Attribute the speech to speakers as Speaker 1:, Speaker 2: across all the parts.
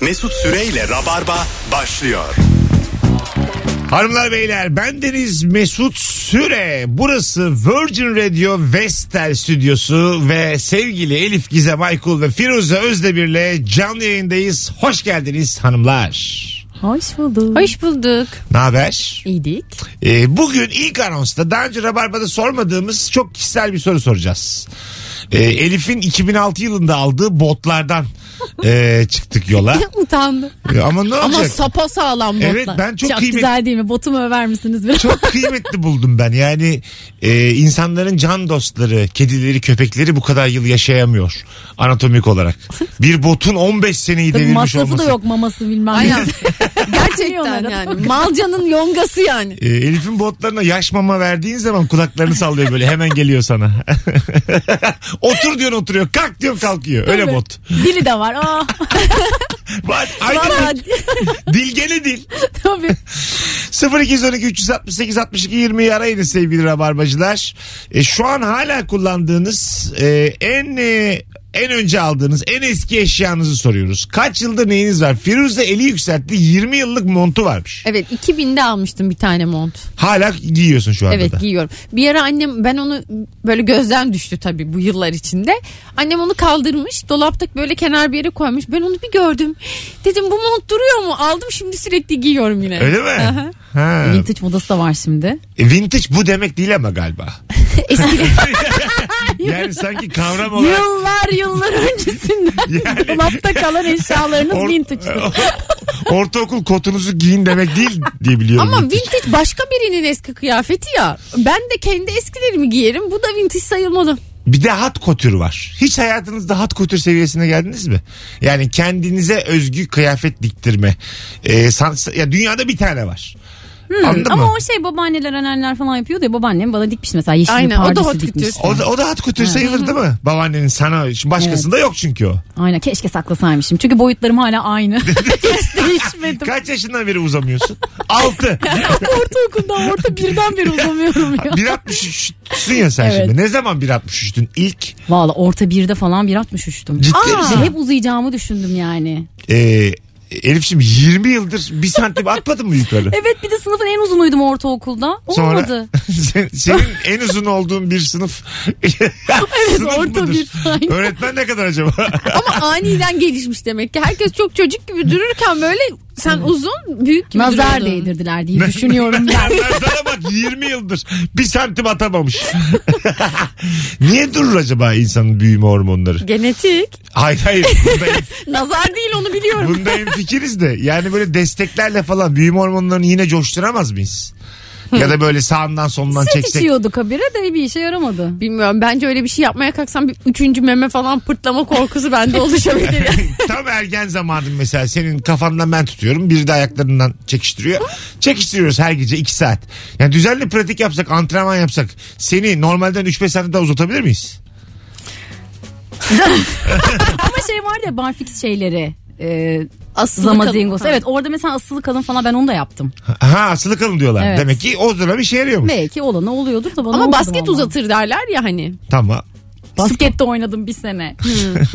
Speaker 1: Mesut Süreyle Rabarba başlıyor.
Speaker 2: Hanımlar beyler ben Deniz Mesut Süre. Burası Virgin Radio Vestel stüdyosu ve sevgili Elif Gizem Aykul ve Firuze Özdemir'le canlı yayındayız. Hoş geldiniz hanımlar.
Speaker 3: Hoş bulduk.
Speaker 4: Hoş bulduk.
Speaker 2: Ne haber?
Speaker 3: İyiydik.
Speaker 2: Ee, bugün ilk anonsta daha önce Rabarba'da sormadığımız çok kişisel bir soru soracağız. Ee, Elif'in 2006 yılında aldığı botlardan e, çıktık yola.
Speaker 4: Utandım.
Speaker 2: Ee, Ama ne olacak?
Speaker 4: Ama sapa sağlam botlar.
Speaker 2: Evet, ben çok
Speaker 3: Çok
Speaker 2: kıymetli-
Speaker 3: güzel değil mi? Botumu över misiniz biraz?
Speaker 2: çok kıymetli buldum ben. Yani e, insanların can dostları, kedileri, köpekleri bu kadar yıl yaşayamıyor anatomik olarak. Bir botun 15 seneyi devirmiş
Speaker 3: Masrafı
Speaker 2: şey olması.
Speaker 3: da yok maması bilmem.
Speaker 4: Aynen.
Speaker 3: Bilmiyorum.
Speaker 4: Gerçekten yani. Malcanın yongası yani.
Speaker 2: E, Elif'in botlarına yaş mama verdiğin zaman kulaklarını sallıyor böyle hemen geliyor sana. Otur diyorsun oturuyor, kalk diyorsun kalkıyor. Öyle
Speaker 3: Tabii.
Speaker 2: bot.
Speaker 3: Dili de var.
Speaker 4: Ah,
Speaker 3: Aa,
Speaker 2: Bak, Aynı
Speaker 3: Valla
Speaker 2: dil, dilgene dil.
Speaker 3: tabii.
Speaker 2: 0212 368 62 20'yi arayın sevgili rabarbacılar. E, şu an hala kullandığınız e, en e, en önce aldığınız en eski eşyanızı soruyoruz. Kaç yıldır neyiniz var? Firuze eli yükseltti 20 yıllık montu varmış.
Speaker 4: Evet 2000'de almıştım bir tane mont.
Speaker 2: Hala giyiyorsun şu anda
Speaker 4: Evet
Speaker 2: da.
Speaker 4: giyiyorum. Bir ara annem ben onu böyle gözden düştü tabii bu yıllar içinde. Annem onu kaldırmış dolapta böyle kenar bir yere koymuş. Ben onu bir gördüm. Dedim bu mont duruyor mu? Aldım şimdi sürekli giyiyorum yine.
Speaker 2: Öyle mi? Ha.
Speaker 3: Vintage modası da var şimdi.
Speaker 2: E, vintage bu demek değil ama galiba.
Speaker 4: Eski
Speaker 2: Yani sanki kavram olarak
Speaker 3: Yıllar yıllar öncesinden
Speaker 2: Yani-
Speaker 3: dolapta kalan eşyalarınız
Speaker 2: Or-
Speaker 3: vintage'dır.
Speaker 2: ortaokul kotunuzu giyin demek değil diye biliyorum.
Speaker 4: ama
Speaker 2: Vintage.
Speaker 4: vintage başka birinin eski kıyafeti ya. Ben de kendi eskilerimi giyerim. Bu da vintage sayılmalı.
Speaker 2: Bir de hat kotür var. Hiç hayatınızda hat kotür seviyesine geldiniz mi? Yani kendinize özgü kıyafet diktirme. Ee, sans- ya dünyada bir tane var. Anladın
Speaker 3: Ama
Speaker 2: mı?
Speaker 3: o şey babaanneler anneanneler falan yapıyor diye babaannem bana dikmiş mesela yeşil
Speaker 4: Aynen,
Speaker 3: bir
Speaker 4: o da
Speaker 3: pardesü
Speaker 4: hot
Speaker 3: dikmiş.
Speaker 4: couture.
Speaker 2: O da, o da hat kotür sayılır değil mi? Babaannenin sana şimdi başkasında yok çünkü o.
Speaker 3: Aynen keşke saklasaymışım çünkü boyutlarım hala aynı. Hiç değişmedim.
Speaker 2: Kaç yaşından beri uzamıyorsun? 6.
Speaker 3: Ortaokuldan orta birden bir uzamıyorum ya.
Speaker 2: 1.63'sün ya sen
Speaker 3: Evet.
Speaker 2: şimdi. Ne zaman 1.63'tün ilk?
Speaker 3: Valla orta birde falan 1.63'tüm.
Speaker 2: Ciddi
Speaker 3: İşte
Speaker 2: misin?
Speaker 3: hep uzayacağımı düşündüm yani.
Speaker 2: Ee, Elif şimdi 20 yıldır bir santim atmadın mı yukarı?
Speaker 3: Evet bir de sınıfın en uzunuydum ortaokulda. Olmadı.
Speaker 2: sen- senin en uzun olduğun bir sınıf. evet
Speaker 3: orta bir. Aynen.
Speaker 2: Öğretmen ne kadar acaba?
Speaker 4: Ama aniden gelişmiş demek ki. Herkes çok çocuk gibi dururken böyle sen uzun büyük gibi
Speaker 3: Nazar
Speaker 4: duruyordun.
Speaker 3: değdirdiler diye düşünüyorum ben.
Speaker 2: Nazara bak 20 yıldır bir santim atamamış. Niye durur acaba insanın büyüme hormonları?
Speaker 4: Genetik.
Speaker 2: Hayır hayır bunda, en,
Speaker 4: Nazar değil onu biliyorum.
Speaker 2: bunda hemfikiriz de yani böyle desteklerle falan büyüme hormonlarını yine coşturamaz mıyız? Ya da böyle sağından solundan
Speaker 3: Süt
Speaker 2: çeksek.
Speaker 3: içiyorduk habire de bir işe yaramadı.
Speaker 4: Bilmiyorum bence öyle bir şey yapmaya kalksam bir üçüncü meme falan pırtlama korkusu bende oluşabilir.
Speaker 2: Tam ergen zamanın mesela senin kafandan ben tutuyorum. Biri de ayaklarından çekiştiriyor. Çekiştiriyoruz her gece 2 saat. Yani düzenli pratik yapsak, antrenman yapsak seni normalden 3-5 saatte daha uzatabilir miyiz?
Speaker 3: Ama şey var ya barfix şeyleri. E,
Speaker 4: Aslı
Speaker 3: Zamazingos.
Speaker 4: kalın.
Speaker 3: Evet orada mesela asılı kalın falan ben onu da yaptım.
Speaker 2: Ha asılı kalın diyorlar.
Speaker 3: Evet.
Speaker 2: Demek ki o dönem işe yarıyormuş.
Speaker 3: Belki olanı oluyordur da bana
Speaker 4: Ama
Speaker 3: olmadı
Speaker 4: basket
Speaker 3: vallahi.
Speaker 4: uzatır derler ya hani.
Speaker 2: Tamam.
Speaker 3: Baskette oynadım bir sene.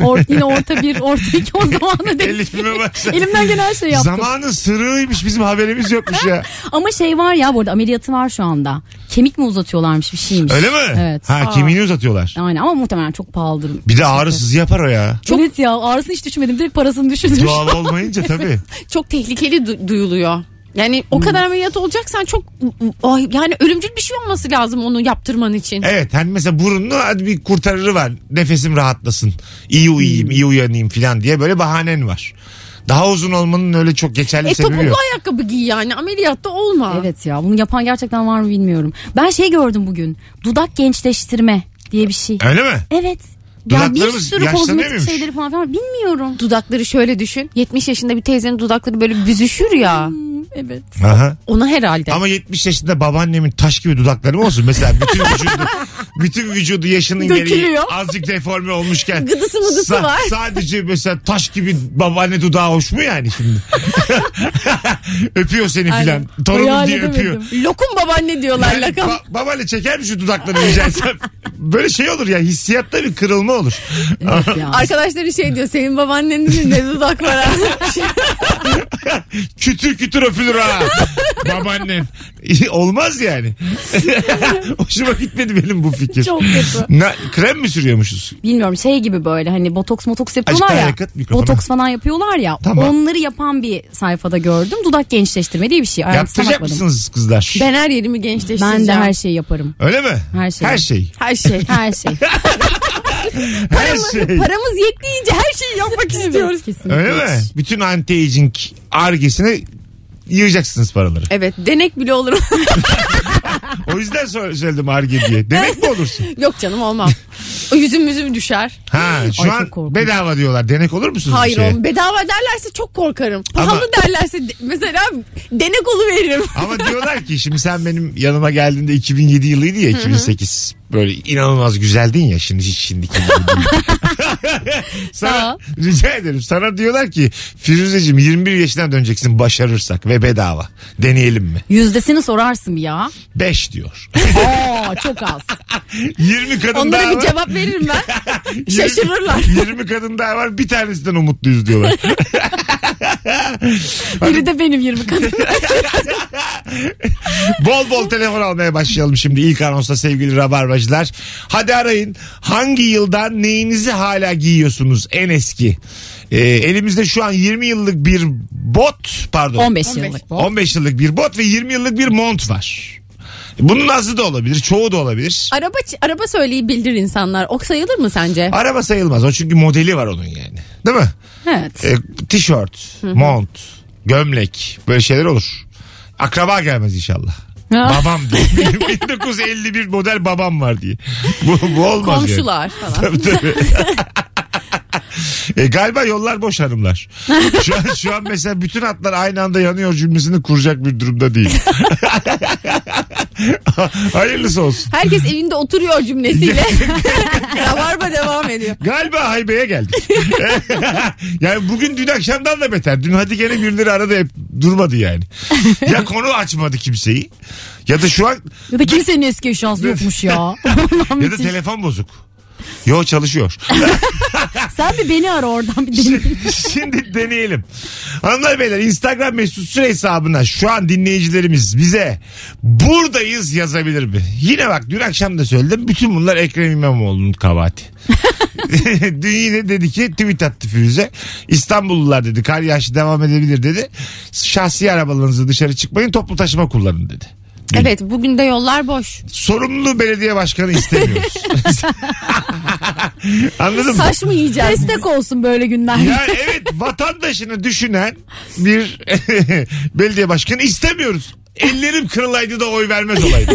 Speaker 3: Or- yine orta bir, orta iki o zaman da değil.
Speaker 2: Elif'ime başla.
Speaker 3: Elimden gelen her şeyi yaptım.
Speaker 2: Zamanın sırrıymış bizim haberimiz yokmuş ya.
Speaker 3: Ama şey var ya bu arada ameliyatı var şu anda. Kemik mi uzatıyorlarmış bir şeymiş.
Speaker 2: Öyle mi?
Speaker 3: Evet.
Speaker 2: Ha kemiğini uzatıyorlar.
Speaker 3: Aynen ama muhtemelen çok pahalıdır.
Speaker 2: Bir de ağrısız yapar o ya.
Speaker 3: Çok... Evet ya ağrısını hiç düşünmedim. Direkt parasını düşündüm.
Speaker 2: Doğal olmayınca tabii.
Speaker 4: Çok tehlikeli du- duyuluyor. Yani o
Speaker 3: Hmm.
Speaker 4: kadar ameliyat olacaksan çok ay, yani ölümcül bir şey olması lazım onu yaptırman için.
Speaker 2: Evet hani mesela burunlu hadi bir kurtarırı var. Nefesim rahatlasın. İyi
Speaker 4: Hmm.
Speaker 2: uyuyayım, iyi uyanayım falan diye böyle bahanen var. Daha uzun olmanın öyle çok geçerli
Speaker 4: E
Speaker 2: sebebi
Speaker 4: topuklu
Speaker 2: yok.
Speaker 4: ayakkabı giy yani ameliyatta olma.
Speaker 3: Evet ya bunu yapan gerçekten var mı bilmiyorum. Ben şey gördüm bugün. Dudak gençleştirme diye bir şey.
Speaker 2: Öyle mi?
Speaker 3: Evet. Ya bir
Speaker 2: Dudaklarımız
Speaker 3: sürü
Speaker 2: yaşlanıyor muymuş?
Speaker 3: kozmetik şeyleri falan var. Bilmiyorum.
Speaker 4: Dudakları şöyle düşün. 70 yaşında bir teyzenin dudakları böyle büzüşür ya.
Speaker 3: Hmm, Evet.
Speaker 2: Aha.
Speaker 4: Ona herhalde.
Speaker 2: Ama 70 yaşında babaannemin taş gibi dudakları mı olsun? Mesela bütün vücudu bütün vücudu yaşının gereği
Speaker 4: Dökülüyor.
Speaker 2: azıcık deforme olmuşken.
Speaker 4: Gıdısı mıdısı
Speaker 2: sa-
Speaker 4: var.
Speaker 2: Sadece mesela taş gibi babaanne dudağı hoş mu yani şimdi? öpüyor seni filan.
Speaker 4: Aynen.
Speaker 2: Torunum
Speaker 4: Hayal
Speaker 2: diye
Speaker 4: edemedim.
Speaker 2: öpüyor.
Speaker 4: Lokum babaanne diyorlar
Speaker 2: Yani
Speaker 4: lakap.
Speaker 2: ba- babaanne çeker mi şu dudaklarını rica etsem? Böyle şey olur ya hissiyatta bir kırılma olur.
Speaker 3: Ya.
Speaker 4: Arkadaşları şey diyor senin babaannenin ne dudak var ha.
Speaker 2: kütür kütür öpülür ha. Babaannen. Olmaz yani. Hoşuma gitmedi benim bu fikir.
Speaker 4: Çok kötü.
Speaker 2: Na- krem mi sürüyormuşuz?
Speaker 3: Bilmiyorum şey gibi böyle hani botoks motoks yapıyorlar
Speaker 2: Azıcık daha
Speaker 3: ya.
Speaker 2: yakın mikrofona.
Speaker 3: botoks falan yapıyorlar ya.
Speaker 2: Tamam.
Speaker 3: Onları yapan bir sayfada gördüm. Dudak gençleştirme diye bir şey. Ayrıntısına
Speaker 2: Yaptıracak
Speaker 3: bakmadım.
Speaker 2: mısınız kızlar?
Speaker 4: Ben her yerimi gençleştireceğim.
Speaker 3: Ben de her şeyi yaparım.
Speaker 2: Öyle mi?
Speaker 3: Her şey.
Speaker 2: Her şey.
Speaker 4: her şey.
Speaker 3: Her şey.
Speaker 2: Her şey.
Speaker 4: Paramız yettiğince her şeyi yapmak istiyoruz.
Speaker 3: Evet, kesinlikle.
Speaker 2: Öyle mi? Bütün anti-aging argesine yiyeceksiniz paraları.
Speaker 4: Evet denek bile olurum.
Speaker 2: O yüzden sor- söyledim arge diye. Demek mi olursun?
Speaker 4: Yok canım olmam. O yüzüm yüzüm düşer.
Speaker 2: Ha, şu
Speaker 3: Ay, çok
Speaker 2: an
Speaker 3: korkunç.
Speaker 2: bedava diyorlar. Denek olur musunuz? bir
Speaker 4: Hayır
Speaker 2: şeye?
Speaker 4: oğlum bedava derlerse çok korkarım.
Speaker 2: şey. Ama-
Speaker 4: Pahalı derlerse de- mesela denek oluveririm.
Speaker 2: Ama diyorlar ki şimdi sen benim yanıma geldiğinde 2007 yılıydı ya 2008. Böyle inanılmaz güzeldin ya şimdi hiç şimdiki gibi değil. sana,
Speaker 4: Tamam.
Speaker 2: rica ederim sana diyorlar ki Firuzeciğim 21 yaşına döneceksin başarırsak ve bedava. Deneyelim mi?
Speaker 3: Yüzdesini sorarsın ya.
Speaker 2: 5 diyor.
Speaker 3: Oo çok az.
Speaker 2: 20 kadın daha
Speaker 4: Onlara bir
Speaker 2: var.
Speaker 4: cevap veririm ben.
Speaker 2: 20
Speaker 4: şaşırırlar.
Speaker 2: 20 kadın daha var bir tanesinden umutluyuz diyorlar.
Speaker 4: Biri de benim 20 kadın.
Speaker 2: Bol bol telefon almaya başlayalım şimdi ilk anonsla sevgili rabarbacılar. Hadi arayın. Hangi yıldan neyinizi hala giyiyorsunuz en eski? Ee, elimizde şu an 20 yıllık bir bot pardon.
Speaker 3: 15
Speaker 4: 15.
Speaker 3: yıllık.
Speaker 2: 15 yıllık bir bot ve 20 yıllık bir mont var. Bunun azı da olabilir, çoğu da olabilir.
Speaker 4: araba araba söyleyi bildir insanlar. Ok sayılır mı sence?
Speaker 2: Araba sayılmaz o çünkü modeli var onun yani. Değil mi?
Speaker 3: Evet.
Speaker 2: E, tişört, mont, gömlek böyle şeyler olur. Akraba gelmez inşallah.
Speaker 3: Ha.
Speaker 2: Babam diye. 1951 model babam var diye. Bu, bu olmaz yani.
Speaker 4: Komşular falan.
Speaker 2: Tabii, tabii. E, galiba yollar boş hanımlar. Şu an, şu an mesela bütün hatlar aynı anda yanıyor cümlesini kuracak bir durumda değil. Hayırlısı olsun.
Speaker 4: Herkes evinde oturuyor cümlesiyle. Rabarba devam ediyor.
Speaker 2: Galiba haybeye geldik. yani bugün dün akşamdan da beter. Dün hadi gene birileri arada hep durmadı yani. Ya konu açmadı kimseyi. Ya da şu an
Speaker 3: Ya da kimsenin eski eşyası yokmuş ya.
Speaker 2: ya da telefon bozuk. Yo çalışıyor.
Speaker 3: Sen bir beni ara oradan
Speaker 2: Şey
Speaker 3: bir dinle.
Speaker 2: Şimdi- Şimdi deneyelim. Hanımlar beyler Instagram mesut süre hesabına şu an dinleyicilerimiz bize buradayız yazabilir mi? Yine bak dün akşam da söyledim. Bütün bunlar Ekrem İmamoğlu'nun kabahati. dün yine dedi ki tweet attı Firuze. İstanbullular dedi kar yağışı devam edebilir dedi. Şahsi arabalarınızı dışarı çıkmayın toplu taşıma kullanın dedi. Dün.
Speaker 4: Evet bugün de yollar boş.
Speaker 2: Sorumlu belediye başkanı istemiyoruz. Anladın mı?
Speaker 4: Taş mı yiyeceğiz?
Speaker 3: Destek olsun böyle günler.
Speaker 2: Ya evet vatandaşını düşünen bir belediye başkanı istemiyoruz. Ellerim kırılaydı da oy vermez olaydı.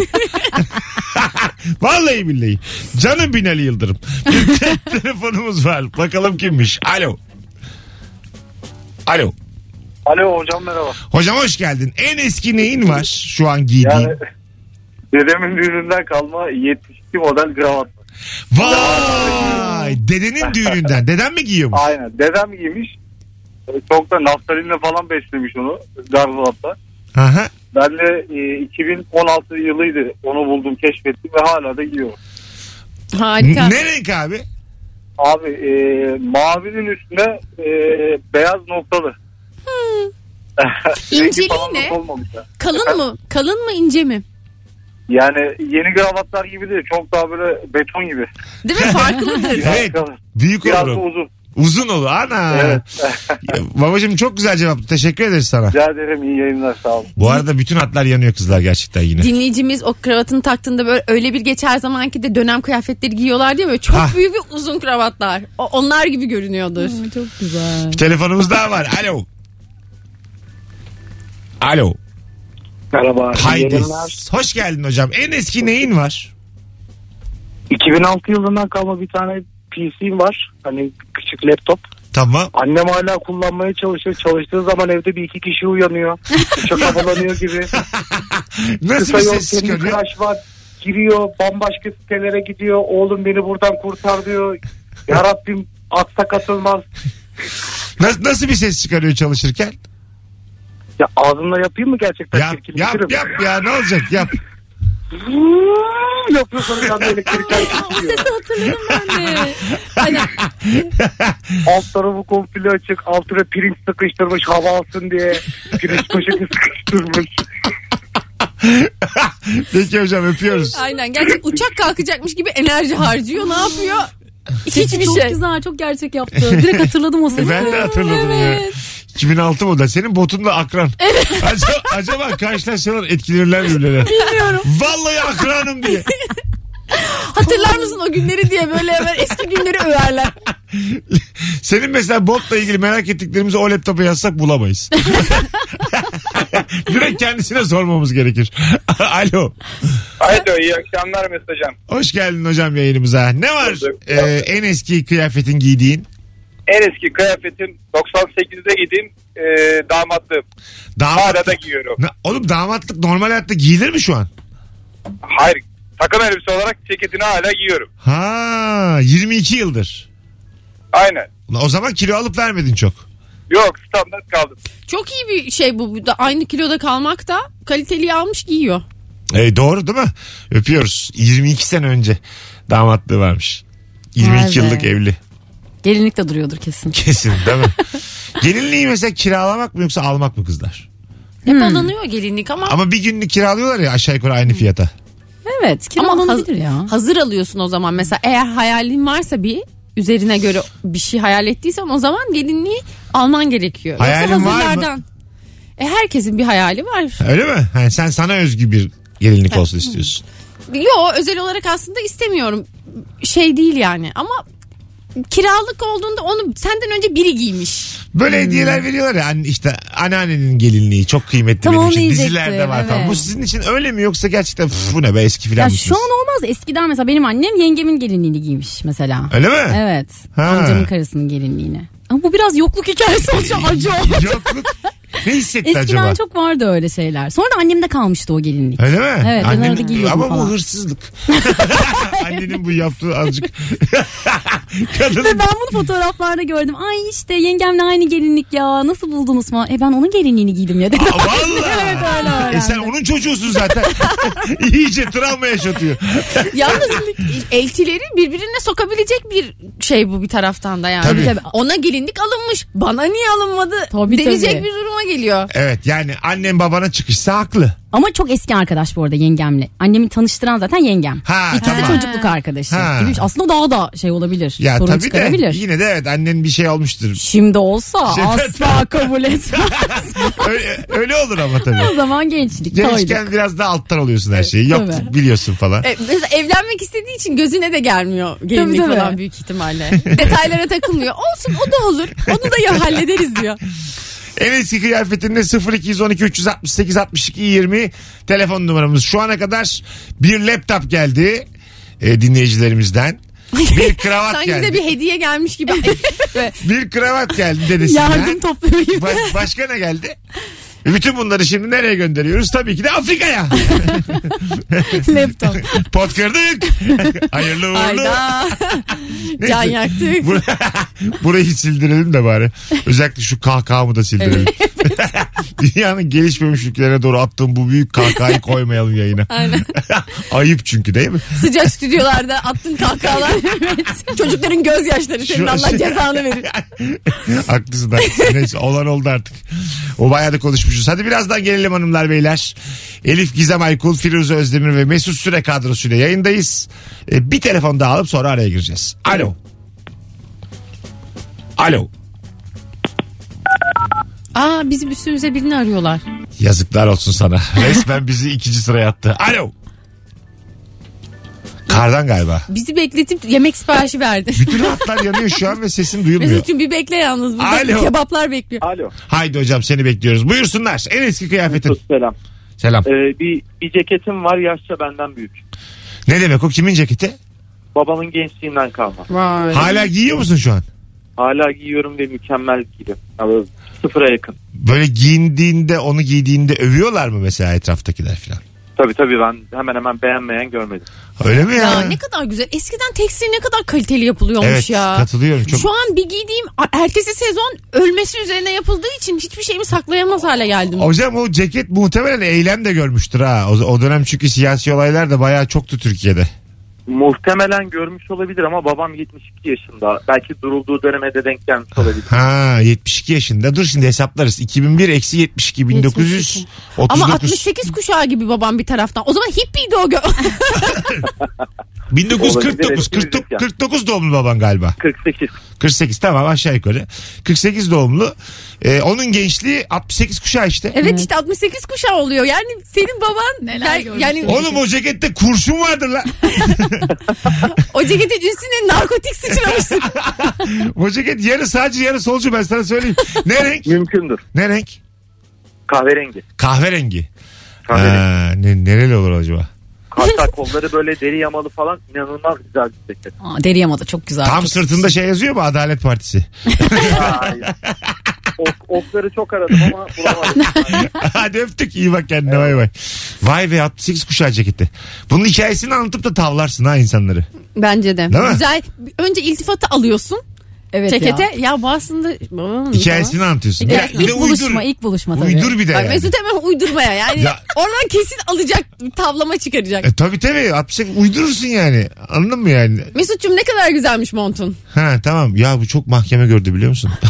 Speaker 2: Vallahi billahi. Canım Binali Yıldırım. Bir te- telefonumuz var. Bakalım kimmiş. Alo. Alo.
Speaker 5: Alo hocam merhaba.
Speaker 2: Hocam hoş geldin. En eski neyin var şu an giydiğin?
Speaker 5: Yani dedemin düğününden kalma 72 model kravat. var.
Speaker 2: Vay! Dedenin düğününden. Deden mi giyiyormuş?
Speaker 5: Aynen dedem giymiş. E, Çok da naftalinle falan beslemiş onu gardırobda.
Speaker 2: Aha.
Speaker 5: Ben de e, 2016 yılıydı onu buldum keşfettim ve hala da giyiyorum.
Speaker 4: Harika.
Speaker 2: Ne renk abi?
Speaker 5: Abi e, mavinin üstüne e, beyaz noktalı. Rengi
Speaker 4: İnceliği
Speaker 5: falan da
Speaker 4: ne?
Speaker 5: solmamış ya.
Speaker 4: Kalın mı? Kalın mı ince mi?
Speaker 5: Yani yeni kravatlar gibi değil çok daha böyle beton gibi.
Speaker 4: Değil mi? Farklıdır.
Speaker 5: Biraz
Speaker 2: Evet.
Speaker 5: kalın.
Speaker 2: Büyük
Speaker 5: Biraz da
Speaker 2: olurum.
Speaker 5: uzun.
Speaker 2: Uzun ol ana.
Speaker 5: Evet.
Speaker 2: Ya, Babacım çok güzel cevap. Teşekkür ederiz sana.
Speaker 5: Rica ederim iyi yayınlar sağ olun.
Speaker 2: Bu arada bütün hatlar yanıyor kızlar gerçekten yine.
Speaker 4: Dinleyicimiz o kravatını taktığında böyle öyle bir geçer zamanki de dönem kıyafetleri giyiyorlar diye böyle çok
Speaker 2: Ah.
Speaker 4: büyük ve uzun kravatlar. O- onlar gibi görünüyordur.
Speaker 3: Çok güzel.
Speaker 2: Bir telefonumuz daha var. Alo. Alo.
Speaker 5: Merhaba.
Speaker 2: Haydi. Hoş geldin hocam. En eski neyin var?
Speaker 5: 2006 yılından kalma bir tane PC'm var. Hani küçük laptop.
Speaker 2: Tamam.
Speaker 5: Annem hala kullanmaya çalışıyor. Çalıştığı zaman evde bir iki kişi uyanıyor. Uçak havalanıyor gibi.
Speaker 2: Nasıl
Speaker 5: Kısa
Speaker 2: bir
Speaker 5: yol
Speaker 2: ses
Speaker 5: senin
Speaker 2: çıkarıyor?
Speaker 5: kıraş var. giriyor bambaşka sitelere gidiyor. Oğlum beni buradan kurtar diyor. Ya Rabbim atsak atılmaz.
Speaker 2: Nasıl, nasıl bir ses çıkarıyor çalışırken?
Speaker 5: Ya ağzımla yapayım mı gerçekten?
Speaker 2: Yap yap yap ya ne olacak yap.
Speaker 5: Yapıyorsanız ben de elektrikler
Speaker 4: o
Speaker 5: kesiyor.
Speaker 4: sesi hatırladım ben de. Hani
Speaker 5: Alt tarafı komple açık. Altına pirinç sıkıştırmış hava alsın diye. Pirinç poşeti sıkıştırmış.
Speaker 2: Peki hocam öpüyoruz.
Speaker 4: aynen gerçek uçak kalkacakmış gibi enerji harcıyor. Ne yapıyor?
Speaker 3: Sesi
Speaker 4: Hiçbir
Speaker 3: çok
Speaker 4: şey.
Speaker 3: güzel çok gerçek yaptı. Direkt hatırladım o sesi.
Speaker 2: Ben de hatırladım ya. 2006 model. Senin botunla akran. Acaba, acaba karşılaşsalar etkilenirler birbirlerine. Bilmiyorum. Vallahi akranım diye.
Speaker 4: Hatırlar mısın o günleri diye böyle hemen eski günleri överler.
Speaker 2: Senin mesela botla ilgili merak ettiklerimizi o laptopa yazsak bulamayız. Direkt kendisine sormamız gerekir. Alo.
Speaker 6: Alo iyi akşamlar mesajım.
Speaker 2: Hoş geldin hocam yayınımıza. Ne var
Speaker 6: Bulduk.
Speaker 2: e, en eski kıyafetin giydiğin?
Speaker 6: En eski kıyafetim 98'de gidin e, damatlığım. Hala da
Speaker 2: Damatlık.
Speaker 6: giyiyorum.
Speaker 2: Na- Oğlum damatlık normal hayatta giyilir mi şu an?
Speaker 6: Hayır takım elbise olarak ceketini hala giyiyorum.
Speaker 2: Ha 22 yıldır.
Speaker 6: Aynen.
Speaker 2: Ulan O zaman kilo alıp vermedin çok.
Speaker 6: Yok standart kaldım.
Speaker 4: Çok iyi bir şey bu. Bu da Aynı kiloda kalmak da kaliteli almış giyiyor.
Speaker 2: E, doğru değil mi? Öpüyoruz. 22 sene önce damatlığı varmış. 22
Speaker 3: Vay be.
Speaker 2: yıllık evli.
Speaker 3: Gelinlik de duruyordur kesin.
Speaker 2: Kesin değil mi? Gelinliği mesela kiralamak mı yoksa almak mı kızlar?
Speaker 4: Hep alınıyor gelinlik ama,
Speaker 2: Ama bir günlük kiralıyorlar ya aşağı yukarı aynı fiyata.
Speaker 3: Evet
Speaker 4: ama haz-
Speaker 3: kiralanabilir ya.
Speaker 4: hazır alıyorsun o zaman. Mesela eğer hayalin varsa bir üzerine göre bir şey hayal ettiysen o zaman gelinliği alman gerekiyor. Yoksa
Speaker 2: Hayalin var mı?
Speaker 4: hazırlardan. E herkesin bir hayali var.
Speaker 2: Öyle mi? Ha, sen sana özgü bir gelinlik olsun istiyorsun.
Speaker 4: Yo özel olarak aslında istemiyorum. Şey değil yani ama kiralık olduğunda onu senden önce biri giymiş.
Speaker 2: Böyle hediyeler veriyorlar ya hani işte anneannenin gelinliği çok kıymetli
Speaker 3: Hmm. Tam
Speaker 2: benim
Speaker 3: onu
Speaker 2: için.
Speaker 3: diyecektim,
Speaker 2: Dizilerde var falan.
Speaker 3: evet.
Speaker 2: Bu sizin için öyle mi yoksa gerçekten "Üf, bu ne be eski falan
Speaker 3: Ya
Speaker 2: mısınız?
Speaker 3: şu an olmaz. Eskiden mesela benim annem yengemin gelinliğini giymiş mesela.
Speaker 2: Öyle mi?
Speaker 3: Evet.
Speaker 2: Ha.
Speaker 3: Amcamın karısının gelinliğini. Ama bu biraz yokluk hikayesi olacak acı oldu.
Speaker 2: Yokluk ne hissetti
Speaker 3: Eskiden
Speaker 2: acaba?
Speaker 3: çok vardı öyle şeyler. Sonra da annemde kalmıştı o gelinlik.
Speaker 2: Öyle mi?
Speaker 3: Evet, ben arada giyiyordum
Speaker 2: ama
Speaker 3: falan.
Speaker 2: bu hırsızlık. Annenin bu yaptığı azıcık. Kadın
Speaker 3: Ve ben bunu fotoğraflarda gördüm. Ay işte yengemle aynı gelinlik ya. Nasıl buldunuz falan. E ben onun gelinliğini giydim ya dedim.
Speaker 2: Valla.
Speaker 3: Evet, öyle öğrendim.
Speaker 2: E sen onun çocuğusun zaten. İyice travma yaşatıyor.
Speaker 4: Yalnız eltileri birbirine sokabilecek bir şey bu bir taraftan da yani.
Speaker 2: Tabii.
Speaker 3: Tabii.
Speaker 4: Ona gelinlik alınmış. Bana niye alınmadı?
Speaker 3: Tabii,
Speaker 4: denecek
Speaker 3: tabii.
Speaker 4: bir duruma geliyor.
Speaker 2: Evet yani annen babana çıkışsa haklı.
Speaker 3: Ama çok eski arkadaş bu arada yengemle. Annemi tanıştıran zaten yengem.
Speaker 2: Ha,
Speaker 3: İkisi
Speaker 2: tamam.
Speaker 3: çocukluk arkadaşı.
Speaker 2: Ha.
Speaker 3: gibi. Aslında daha da şey olabilir.
Speaker 2: Ya
Speaker 3: sorun
Speaker 2: tabii de
Speaker 3: çıkarabilir.
Speaker 2: yine de evet annen bir şey olmuştur.
Speaker 3: Şimdi olsa
Speaker 2: Şey-
Speaker 3: asla kabul etmez.
Speaker 2: öyle, öyle olur ama tabii.
Speaker 3: o zaman gençlik.
Speaker 2: Gençken biraz daha alttan alıyorsun her şeyi. Yok
Speaker 3: tabii.
Speaker 2: biliyorsun falan.
Speaker 4: E, mesela evlenmek istediği için gözüne de gelmiyor gelinlik
Speaker 3: tabii.
Speaker 4: falan büyük ihtimalle. Detaylara takılmıyor. Olsun o da olur. Onu da ya hallederiz diyor.
Speaker 2: En eski kıyafetinde 0212 368 62 20 telefon numaramız. Şu ana kadar bir laptop geldi e, dinleyicilerimizden. Bir kravat
Speaker 4: Sanki bize
Speaker 2: geldi.
Speaker 4: bir hediye gelmiş gibi. Ve
Speaker 2: Bir kravat geldi dedesinden.
Speaker 3: Yardım topluyor.
Speaker 2: Ba- başka ne geldi? Bütün bunları şimdi nereye gönderiyoruz? Tabii ki de Afrika'ya.
Speaker 3: Laptop.
Speaker 2: Pot kırdık. Hayırlı uğurlu.
Speaker 4: Ayda. Can
Speaker 2: Neyse.
Speaker 4: yaktık.
Speaker 2: Bur- Burayı sildirelim de bari. Özellikle şu kahkahamı da sildirelim. Dünyanın gelişmemiş ülkelerine doğru attığım bu büyük kahkahayı koymayalım yayına.
Speaker 4: Aynen.
Speaker 2: Ayıp çünkü değil mi?
Speaker 4: Sıcak stüdyolarda attın kahkahalar. Evet. Çocukların gözyaşları senin
Speaker 2: Şu-
Speaker 4: Allah cezanı verir.
Speaker 2: haklısın haklısın. Neyse olan oldu artık. O bayağı da konuşmuşuz. Hadi birazdan gelelim hanımlar beyler. Elif Gizem Aykul, Firuze Özdemir ve Mesut Süre kadrosuyla yayındayız. Ee, bir telefon daha alıp sonra araya gireceğiz. Alo. Alo.
Speaker 4: Aa bizim üstümüze birini arıyorlar.
Speaker 2: Yazıklar olsun sana. Resmen bizi ikinci sıraya attı. Alo. Kardan galiba.
Speaker 4: Bizi bekletip yemek siparişi verdi.
Speaker 2: Bütün hatlar yanıyor şu an ve sesin duyulmuyor.
Speaker 4: Mesut'cum bir bekle yalnız. Burada
Speaker 2: Alo.
Speaker 4: kebaplar bekliyor.
Speaker 5: Alo.
Speaker 2: Haydi hocam seni bekliyoruz. Buyursunlar. En eski kıyafetin.
Speaker 5: Selam.
Speaker 2: Selam.
Speaker 5: Ee, bir, bir ceketim var yaşça benden büyük.
Speaker 2: Ne demek o kimin ceketi?
Speaker 5: Babamın gençliğinden kalma.
Speaker 4: Vay.
Speaker 2: Hala giyiyor musun şu an?
Speaker 5: Hala giyiyorum ve mükemmel giyiyorum. Ya böyle sıfıra yakın.
Speaker 2: Böyle giyindiğinde onu giydiğinde övüyorlar mı mesela etraftakiler falan?
Speaker 6: Tabii tabii ben hemen hemen beğenmeyen görmedim.
Speaker 2: Öyle mi ya?
Speaker 4: Ya ne kadar güzel. Eskiden tekstil ne kadar kaliteli yapılıyormuş
Speaker 2: evet
Speaker 4: ya.
Speaker 2: katılıyorum çok.
Speaker 4: Şu an bir giydiğim ertesi sezon ölmesi üzerine yapıldığı için hiçbir şeyimi saklayamaz hale geldim.
Speaker 2: Hocam o ceket muhtemelen eylem de görmüştür ha. O, o dönem çünkü siyasi olaylar da bayağı çoktu Türkiye'de.
Speaker 6: Muhtemelen görmüş olabilir ama babam 72 yaşında. Belki durulduğu döneme de denk gelmiş olabilir.
Speaker 2: Ha 72 yaşında. Dur şimdi hesaplarız. 2001 eksi 72 1939.
Speaker 4: Ama 68 kuşağı gibi babam bir taraftan. O zaman hippiydi o. gö-
Speaker 2: 1949
Speaker 6: Olabilir,
Speaker 2: 49,
Speaker 6: yani.
Speaker 2: 49 doğumlu baban galiba.
Speaker 6: 48.
Speaker 2: 48 tamam aşağı yukarı. 48 doğumlu. Ee, onun gençliği 68 kuşağı işte.
Speaker 4: evet işte 68 kuşağı oluyor. Yani senin baban
Speaker 3: Neler
Speaker 4: yani,
Speaker 3: görmüş.
Speaker 4: yani
Speaker 2: Oğlum o cekette kurşun vardır lan.
Speaker 4: o ceketin üstüne narkotik sıçramışsın.
Speaker 2: o ceket yarı sağcı yarı solcu ben sana söyleyeyim. Ne renk?
Speaker 6: Mümkündür.
Speaker 2: Ne renk?
Speaker 6: Kahverengi.
Speaker 2: Kahverengi.
Speaker 6: Kahverengi.
Speaker 2: Ha, ne, nereli olur acaba?
Speaker 6: Hatta kolları böyle deri yamalı falan inanılmaz güzel bir ceket.
Speaker 3: Aa, deri yama da çok güzel.
Speaker 2: Tam
Speaker 3: Çok-
Speaker 2: sırtında şey yazıyor mu Adalet Partisi?
Speaker 6: Hayır. Ok- okları çok aradım ama bulamadım.
Speaker 2: Hadi öptük iyi bak kendine vay vay. Vay be 68 kuşağı ceketi. Bunun hikayesini anlatıp da tavlarsın ha insanları.
Speaker 4: Bence de.
Speaker 2: Değil mi?
Speaker 4: Güzel. Önce iltifatı alıyorsun
Speaker 3: Evet
Speaker 4: cekete.
Speaker 3: ya.
Speaker 4: Ya, bu aslında babamın
Speaker 2: Hikayesini anlatıyorsun.
Speaker 3: Ya,
Speaker 2: Bir de
Speaker 3: ilk buluşma, ilk buluşma tabii.
Speaker 2: Uydur bir de
Speaker 4: Bak
Speaker 2: yani.
Speaker 4: Mesut hemen uydurmaya yani
Speaker 2: Ya-
Speaker 4: oradan kesin alacak tavlama çıkaracak.
Speaker 2: E, tabii tabii 68 uydurursun yani. Anladın mı yani?
Speaker 4: Mesut'cum ne kadar güzelmiş montun.
Speaker 2: Ha tamam ya bu çok mahkeme gördü biliyor musun?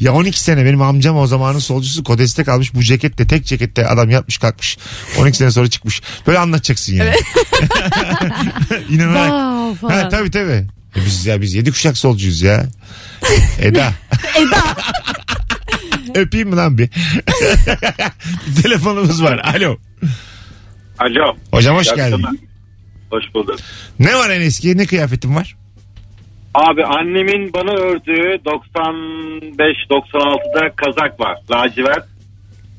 Speaker 2: ya 12 sene benim amcam o zamanın solcusu kodeste kalmış bu cekette tek cekette adam yatmış kalkmış 12 sene sonra çıkmış böyle anlatacaksın yani İnanarak.
Speaker 4: Vav falan.
Speaker 2: ha, tabii tabii E biz ya biz 7 kuşak solcuyuz ya Eda
Speaker 4: Eda
Speaker 2: öpeyim mi lan bir Bir telefonumuz var alo
Speaker 6: Alo.
Speaker 2: hocam hoş
Speaker 6: İyi
Speaker 2: geldin
Speaker 6: akşamlar. Hoş bulduk.
Speaker 2: ne var en eski ne kıyafetin var
Speaker 6: Abi annemin bana ördüğü 95-96'da kazak var. Lacivert.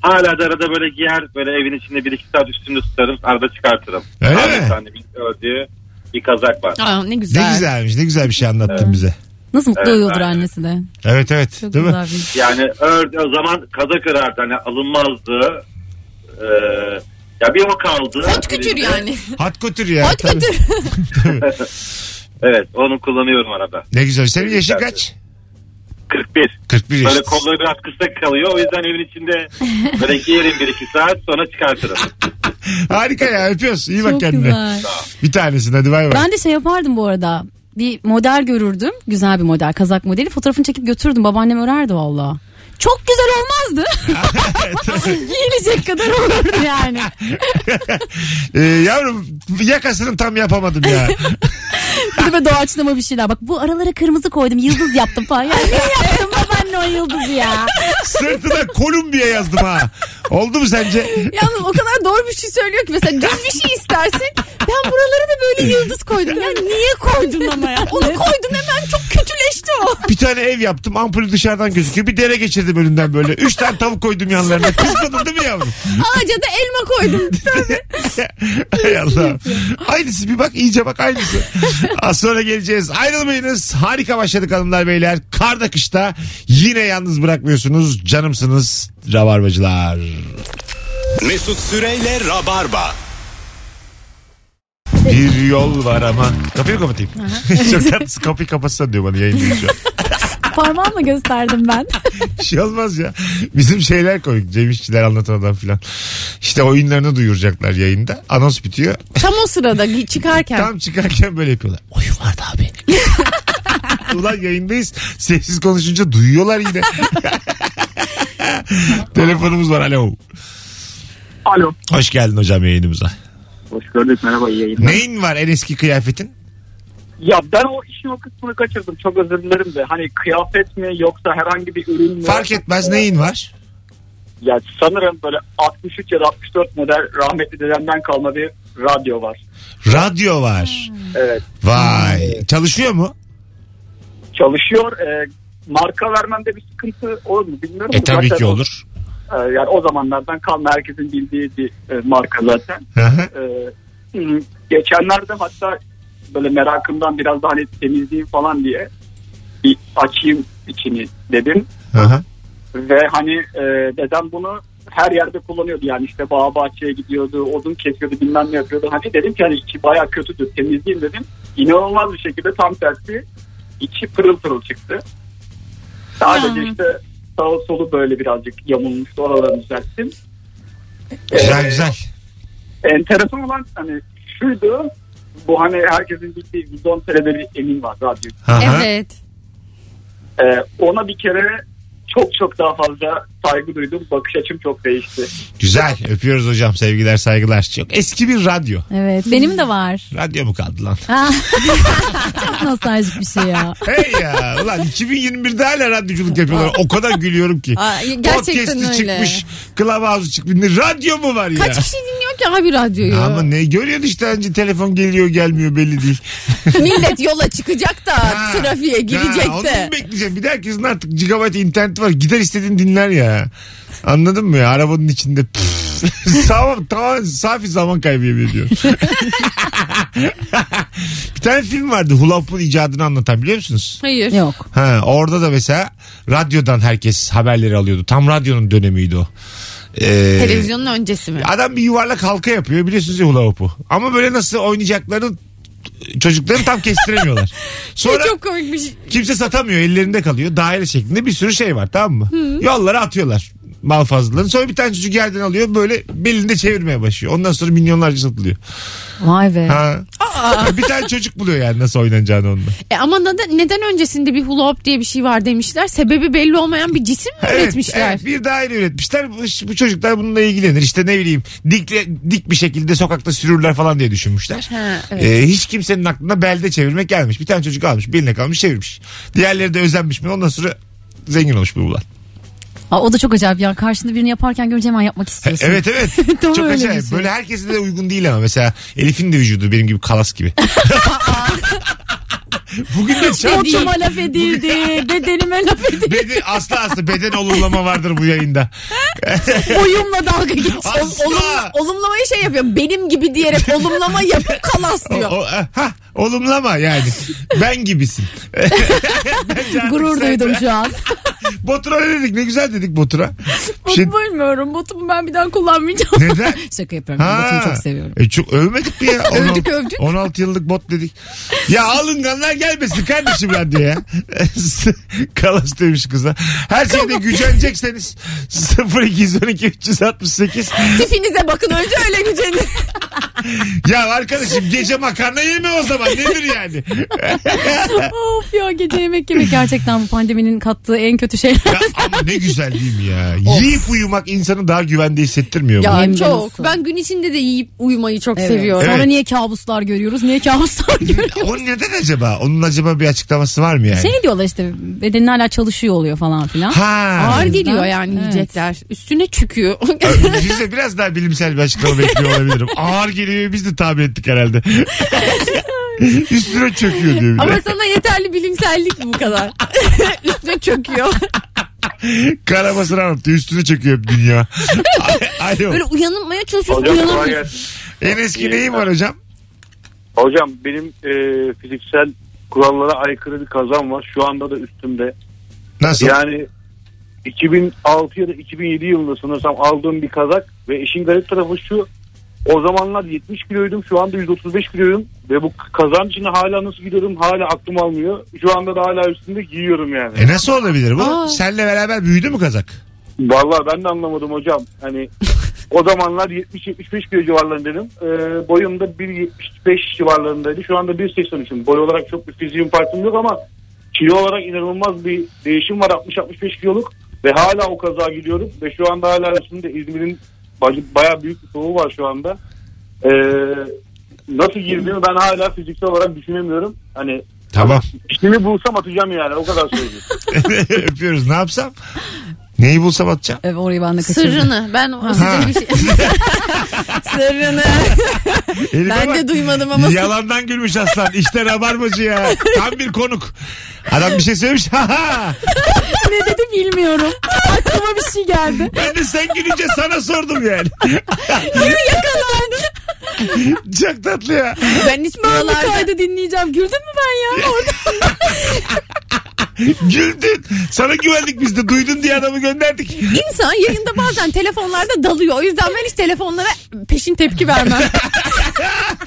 Speaker 6: Hala da arada böyle giyer. Böyle evin içinde bir iki saat üstünde tutarım. Arada çıkartırım.
Speaker 2: Öyle
Speaker 6: Hala
Speaker 2: mi?
Speaker 6: Annemin ördüğü bir kazak var.
Speaker 4: Aa, ne
Speaker 2: ne
Speaker 4: güzel.
Speaker 2: güzelmiş ne güzel bir şey anlattın bize
Speaker 3: Nasıl mutlu
Speaker 6: Evet,
Speaker 3: oluyordur
Speaker 6: aynen.
Speaker 3: annesi de.
Speaker 2: evet evet
Speaker 3: Çok
Speaker 2: değil mi
Speaker 3: güzel bir.
Speaker 6: Yani ördü o zaman kazak örerdi. Hani alınmazdı. Ee, ya bir o kaldı. Ee,
Speaker 4: Hot kütür
Speaker 6: Elinde.
Speaker 4: yani.
Speaker 2: Hot götür ya.
Speaker 4: Hot
Speaker 2: Tabii.
Speaker 4: kütür.
Speaker 6: Evet onu kullanıyorum arada.
Speaker 2: Ne güzel. Senin yaşın kaç?
Speaker 6: 41.
Speaker 2: 41 yaş.
Speaker 6: Böyle kolları biraz kısa kalıyor. O yüzden evin içinde böyle giyerim bir iki saat sonra çıkartırım.
Speaker 2: Harika ya öpüyoruz. İyi bak
Speaker 3: Çok
Speaker 2: kendine.
Speaker 3: güzel.
Speaker 2: Bir tanesin hadi bay bay.
Speaker 3: Ben de şey yapardım bu arada. Bir model görürdüm. Güzel bir model. Kazak modeli. Fotoğrafını çekip götürürdüm. Babaannem örerdi valla. Çok güzel olmazdı. Giyilecek kadar olurdu yani.
Speaker 2: Ee, yavrum yakasını tam yapamadım ya.
Speaker 3: Bir de böyle doğaçlama bir şeyler. Bak bu aralara kırmızı koydum. Yıldız yaptım falan. Ya niye yaptın babaanne o yıldızı ya?
Speaker 2: Sırtına Kolumbiya yazdım ha. Oldu mu sence?
Speaker 4: Yalnız o kadar doğru bir şey söylüyor ki mesela düz bir şey istersin. Ben buralara da böyle yıldız koydum. Ya niye koydun ama ya? Onu koydum hemen çok kötüleşti o.
Speaker 2: Bir tane ev yaptım ampulü dışarıdan gözüküyor. Bir dere geçirdim önünden böyle. Üç tane tavuk koydum yanlarına. Kızmadın değil mi yavrum?
Speaker 4: Ağaca da elma koydum.
Speaker 2: Hay Allah. Aynısı bir bak iyice bak aynısı. Az sonra geleceğiz. Ayrılmayınız. Harika başladık hanımlar beyler. Karda kışta yine yalnız bırakmıyorsunuz. Canımsınız. Rabarbacılar.
Speaker 1: Mesut Süreyle Rabarba.
Speaker 2: Bir yol var ama. Kapıyı mı kapatayım. Çok tatlısı kapıyı kapatsan diyor bana yayın şu an.
Speaker 3: Parmağımla gösterdim ben.
Speaker 2: Bir şey olmaz ya. Bizim şeyler koyuk. Cem İşçiler anlatan adam filan. İşte oyunlarını duyuracaklar yayında. Anons bitiyor.
Speaker 4: Tam o sırada çıkarken.
Speaker 2: Tam çıkarken böyle yapıyorlar. Oyun vardı abi. Ulan yayındayız. Sessiz konuşunca duyuyorlar yine. Telefonumuz var. Alo.
Speaker 5: Alo.
Speaker 2: Hoş geldin hocam yayınımıza.
Speaker 5: Hoş gördük merhaba iyi yayınlar.
Speaker 2: Neyin var en eski kıyafetin?
Speaker 5: Ya ben o işin o kısmını kaçırdım çok özür dilerim de. Hani kıyafet mi yoksa herhangi bir ürün mü?
Speaker 2: Fark etmez neyin var?
Speaker 5: Ya sanırım böyle 63 ya da 64 model rahmetli dedemden kalma bir radyo var.
Speaker 2: Radyo var.
Speaker 5: Evet.
Speaker 2: Vay. Çalışıyor mu?
Speaker 5: Çalışıyor. E, marka vermemde bir sıkıntı olur mu bilmiyorum.
Speaker 2: E tabii
Speaker 5: Zaten
Speaker 2: ki
Speaker 5: o-
Speaker 2: olur.
Speaker 5: e, yani o zamanlardan kalma herkesin bildiği bir e, marka zaten.
Speaker 2: Hı hı.
Speaker 5: E,
Speaker 7: Ee,
Speaker 5: hı, geçenlerde hatta böyle merakımdan biraz daha hani temizleyeyim falan diye bir açayım içini dedim.
Speaker 2: Hı hı.
Speaker 5: Ve hani e, dedem bunu
Speaker 7: her yerde kullanıyordu yani işte bağ bahçeye gidiyordu, odun kesiyordu bilmem ne yapıyordu. Hani dedim ki hani içi baya kötüdür temizleyeyim dedim. İnanılmaz bir şekilde tam tersi içi pırıl pırıl çıktı. Sadece
Speaker 3: Ya.
Speaker 7: işte sağ solu böyle birazcık yamulmuştu oralarını düzelttim.
Speaker 2: Güzel güzel.
Speaker 7: Enteresan olan hani şuydu bu hani herkesin bildiği 110 TL'de bir emin var radyo
Speaker 2: Aha.
Speaker 4: Evet.
Speaker 7: Ee, ona bir kere çok çok daha fazla saygı duydum. Bakış açım çok değişti.
Speaker 2: Güzel. Öpüyoruz hocam. Sevgiler saygılar. Çok eski bir radyo.
Speaker 3: Evet benim de var.
Speaker 2: Radyo mu kaldı lan?
Speaker 3: Ha. Çok nostaljik bir şey ya.
Speaker 2: Hey ya. Ulan 2021'de hala radyoculuk yapıyorlar. O kadar gülüyorum ki.
Speaker 4: Aa, gerçekten
Speaker 2: Podcast'i
Speaker 4: öyle.
Speaker 2: çıkmış. Clubhouse'u çıkmış. Radyo mu var ya?
Speaker 4: Kaç kişi dinliyor ki abi radyoyu?
Speaker 2: Ama ne görüyorsun işte önce telefon geliyor gelmiyor belli değil.
Speaker 4: Millet yola çıkacak da
Speaker 2: Ha.
Speaker 4: trafiğe girecek
Speaker 2: Ha, onu
Speaker 4: de.
Speaker 2: bekleyeceğim. Bir de herkesin artık gigabyte interneti var. Gider istediğin dinler ya. Anladın mı ya? Arabanın içinde. Pff. tamam, tamam. Safi zaman kaybı yemin ediyorum. bir tane film vardı. Hula Hoop'un icadını anlatan biliyor musunuz?
Speaker 4: Hayır.
Speaker 3: Yok.
Speaker 2: Ha, orada da mesela radyodan herkes haberleri alıyordu. Tam radyonun dönemiydi o. Ee,
Speaker 4: Televizyonun öncesi mi?
Speaker 2: Adam bir yuvarlak halka yapıyor biliyorsunuz ya hula hoop'u. Ama böyle nasıl oynayacaklarını çocukların tam kestiremiyorlar. Sonra
Speaker 4: Çok komikmiş.
Speaker 2: kimse satamıyor ellerinde kalıyor. Daire şeklinde bir sürü şey var tamam mı? Yollara atıyorlar mal fazlalarını. Sonra bir tane çocuk yerden alıyor böyle belinde çevirmeye başlıyor. Ondan sonra milyonlarca satılıyor.
Speaker 3: Vay be.
Speaker 2: Ha. bir tane çocuk buluyor yani nasıl oynanacağını onunla.
Speaker 4: E ama neden, neden öncesinde bir hula hoop diye bir şey var demişler? Sebebi belli olmayan bir cisim mi üretmişler?
Speaker 2: evet, bir daire üretmişler. Bu, bu çocuklar bununla ilgilenir. İşte ne bileyim dik, dik bir şekilde sokakta sürürler falan diye düşünmüşler.
Speaker 4: Ha, evet.
Speaker 2: Ee, hiç kimsenin aklına belde çevirmek gelmiş. Bir tane çocuk almış beline kalmış çevirmiş. Diğerleri de özenmiş mi ondan sonra zengin olmuş bu ulan.
Speaker 3: Aa, o da çok acayip ya. Karşında birini yaparken görünce hemen yapmak istiyorsun.
Speaker 2: E, Evet evet.
Speaker 3: Tam
Speaker 2: Çok
Speaker 3: öyle bir
Speaker 2: acayip.
Speaker 3: şey.
Speaker 2: Böyle herkese de uygun değil ama mesela Elif'in de vücudu benim gibi kalas gibi. Bugün de çok
Speaker 3: Botuma laf edildi. Bedenime laf edildi.
Speaker 2: Beden, asla asla beden olumlama vardır bu yayında.
Speaker 4: Boyumla dalga geçiyor.
Speaker 2: Asla.
Speaker 4: Olum- olumlamayı şey yapıyor. Benim gibi diyerek olumlama yapıp kalas
Speaker 2: O,
Speaker 4: diyor.
Speaker 2: o- hah, olumlama yani. Ben gibisin. Bence artık
Speaker 3: Gurur
Speaker 2: sen-
Speaker 3: duydum şu an.
Speaker 2: Botura ne dedik? Ne güzel dedik Botura. Bir şey-
Speaker 4: Botumu bilmiyorum. Botumu ben bir daha kullanmayacağım.
Speaker 2: Neden?
Speaker 3: Şaka yapıyorum. Ben Batu'yu çok seviyorum.
Speaker 2: E çok övmedik mi ya?
Speaker 4: Övdük,
Speaker 2: 16
Speaker 4: övdük.
Speaker 2: 16 yıllık bot dedik. Ya alınganlar gelmesin kardeşim radyoya. Kalas demiş kıza. Her şeyde gücenecekseniz 0212 368
Speaker 4: Tipinize bakın önce öyle güceniz.
Speaker 2: ya arkadaşım gece makarna yeme o zaman nedir yani?
Speaker 3: of ya gece yemek yemek gerçekten bu pandeminin kattığı en kötü şeyler.
Speaker 2: Ya ama ne güzel değil mi ya? Yiyip uyumak insanı daha güvende hissettirmiyor mu?
Speaker 4: Ya
Speaker 3: Hem de
Speaker 4: çok.
Speaker 3: nasıl?
Speaker 4: Ben gün içinde de yiyip uyumayı çok seviyorum.
Speaker 3: Sonra
Speaker 2: Evet.
Speaker 3: niye kabuslar görüyoruz? Niye kabuslar görüyoruz?
Speaker 2: O neden acaba? Onun acaba bir açıklaması var mı yani?
Speaker 3: Şey diyorlar işte bedenin hala çalışıyor oluyor falan filan.
Speaker 2: Ha.
Speaker 4: Ağır geliyor yani
Speaker 3: Evet.
Speaker 4: yiyecekler. Üstüne çöküyor.
Speaker 2: Biz de biraz daha bilimsel bir açıklama bekliyor olabilirim. Ağır geliyor biz de tahmin ettik herhalde. Üstüne çöküyor diyor bir de.
Speaker 4: Ama sana yeterli bilimsellik bu kadar. Üstüne çöküyor.
Speaker 2: Karamasını anlattı. Üstüne çöküyor hep dünya. A- Alo.
Speaker 4: Böyle uyanmaya çalışıyorsun
Speaker 5: Hocam kolay
Speaker 4: uyanamıyorsun.
Speaker 5: gelsin.
Speaker 2: En eski neyim var hocam?
Speaker 5: Hocam benim e, fiziksel kurallara aykırı bir kazan var. Şu anda da üstümde.
Speaker 2: Nasıl?
Speaker 5: Yani 2006 ya da 2007 yılında sanırsam aldığım bir kazak ve işin garip tarafı şu. O zamanlar 70 kiloydum şu anda 135 kiloyum ve bu kazan için hala nasıl gidiyorum hala aklım almıyor. Şu anda da hala üstünde giyiyorum yani.
Speaker 2: E nasıl olabilir bu?
Speaker 4: Aa.
Speaker 2: Senle beraber büyüdü mü kazak?
Speaker 5: Vallahi ben de anlamadım hocam. Hani o zamanlar 70-75 kilo civarlarındaydım. Ee, boyum da 1.75 civarlarındaydı. Şu anda 1.83'üm. Boy olarak çok bir fiziğim farkım yok ama kilo olarak inanılmaz bir değişim var. 60-65 kiloluk ve hala o kaza gidiyorum. Ve şu anda hala üstümde İzmir'in bac- bayağı büyük bir soğuğu var şu anda. Ee, nasıl girdiğimi ben hala fiziksel olarak düşünemiyorum. Hani
Speaker 2: Tamam.
Speaker 5: işimi bulsam atacağım yani o kadar söyleyeyim.
Speaker 2: Öpüyoruz. Ne yapsam? Neyi bulsam atacağım?
Speaker 3: Evet, Ee, orayı ben de kaçırdım.
Speaker 4: Sırrını. Ben o size bir şey... Sırrını.
Speaker 2: Elime
Speaker 4: Ben
Speaker 2: bak.
Speaker 4: de duymadım ama
Speaker 2: Yalandan gülmüş aslan. İşte rabarbacı ya. Tam bir konuk. Adam bir şey söylemiş. Ha ha.
Speaker 3: ne dedi bilmiyorum. Aklıma bir şey geldi.
Speaker 2: Ben de sen gülünce sana sordum yani.
Speaker 3: Yakalandı.
Speaker 2: Çok tatlı ya.
Speaker 4: ben hiç
Speaker 3: Ben bu
Speaker 4: buralarda...
Speaker 3: kaydı dinleyeceğim. Güldün mü ben ya? Orada.
Speaker 2: Güldün. Sana güvendik biz de. Duydun diye adamı gönderdik.
Speaker 4: İnsan yayında bazen telefonlarda dalıyor. O yüzden ben hiç telefonlara peşin tepki vermem.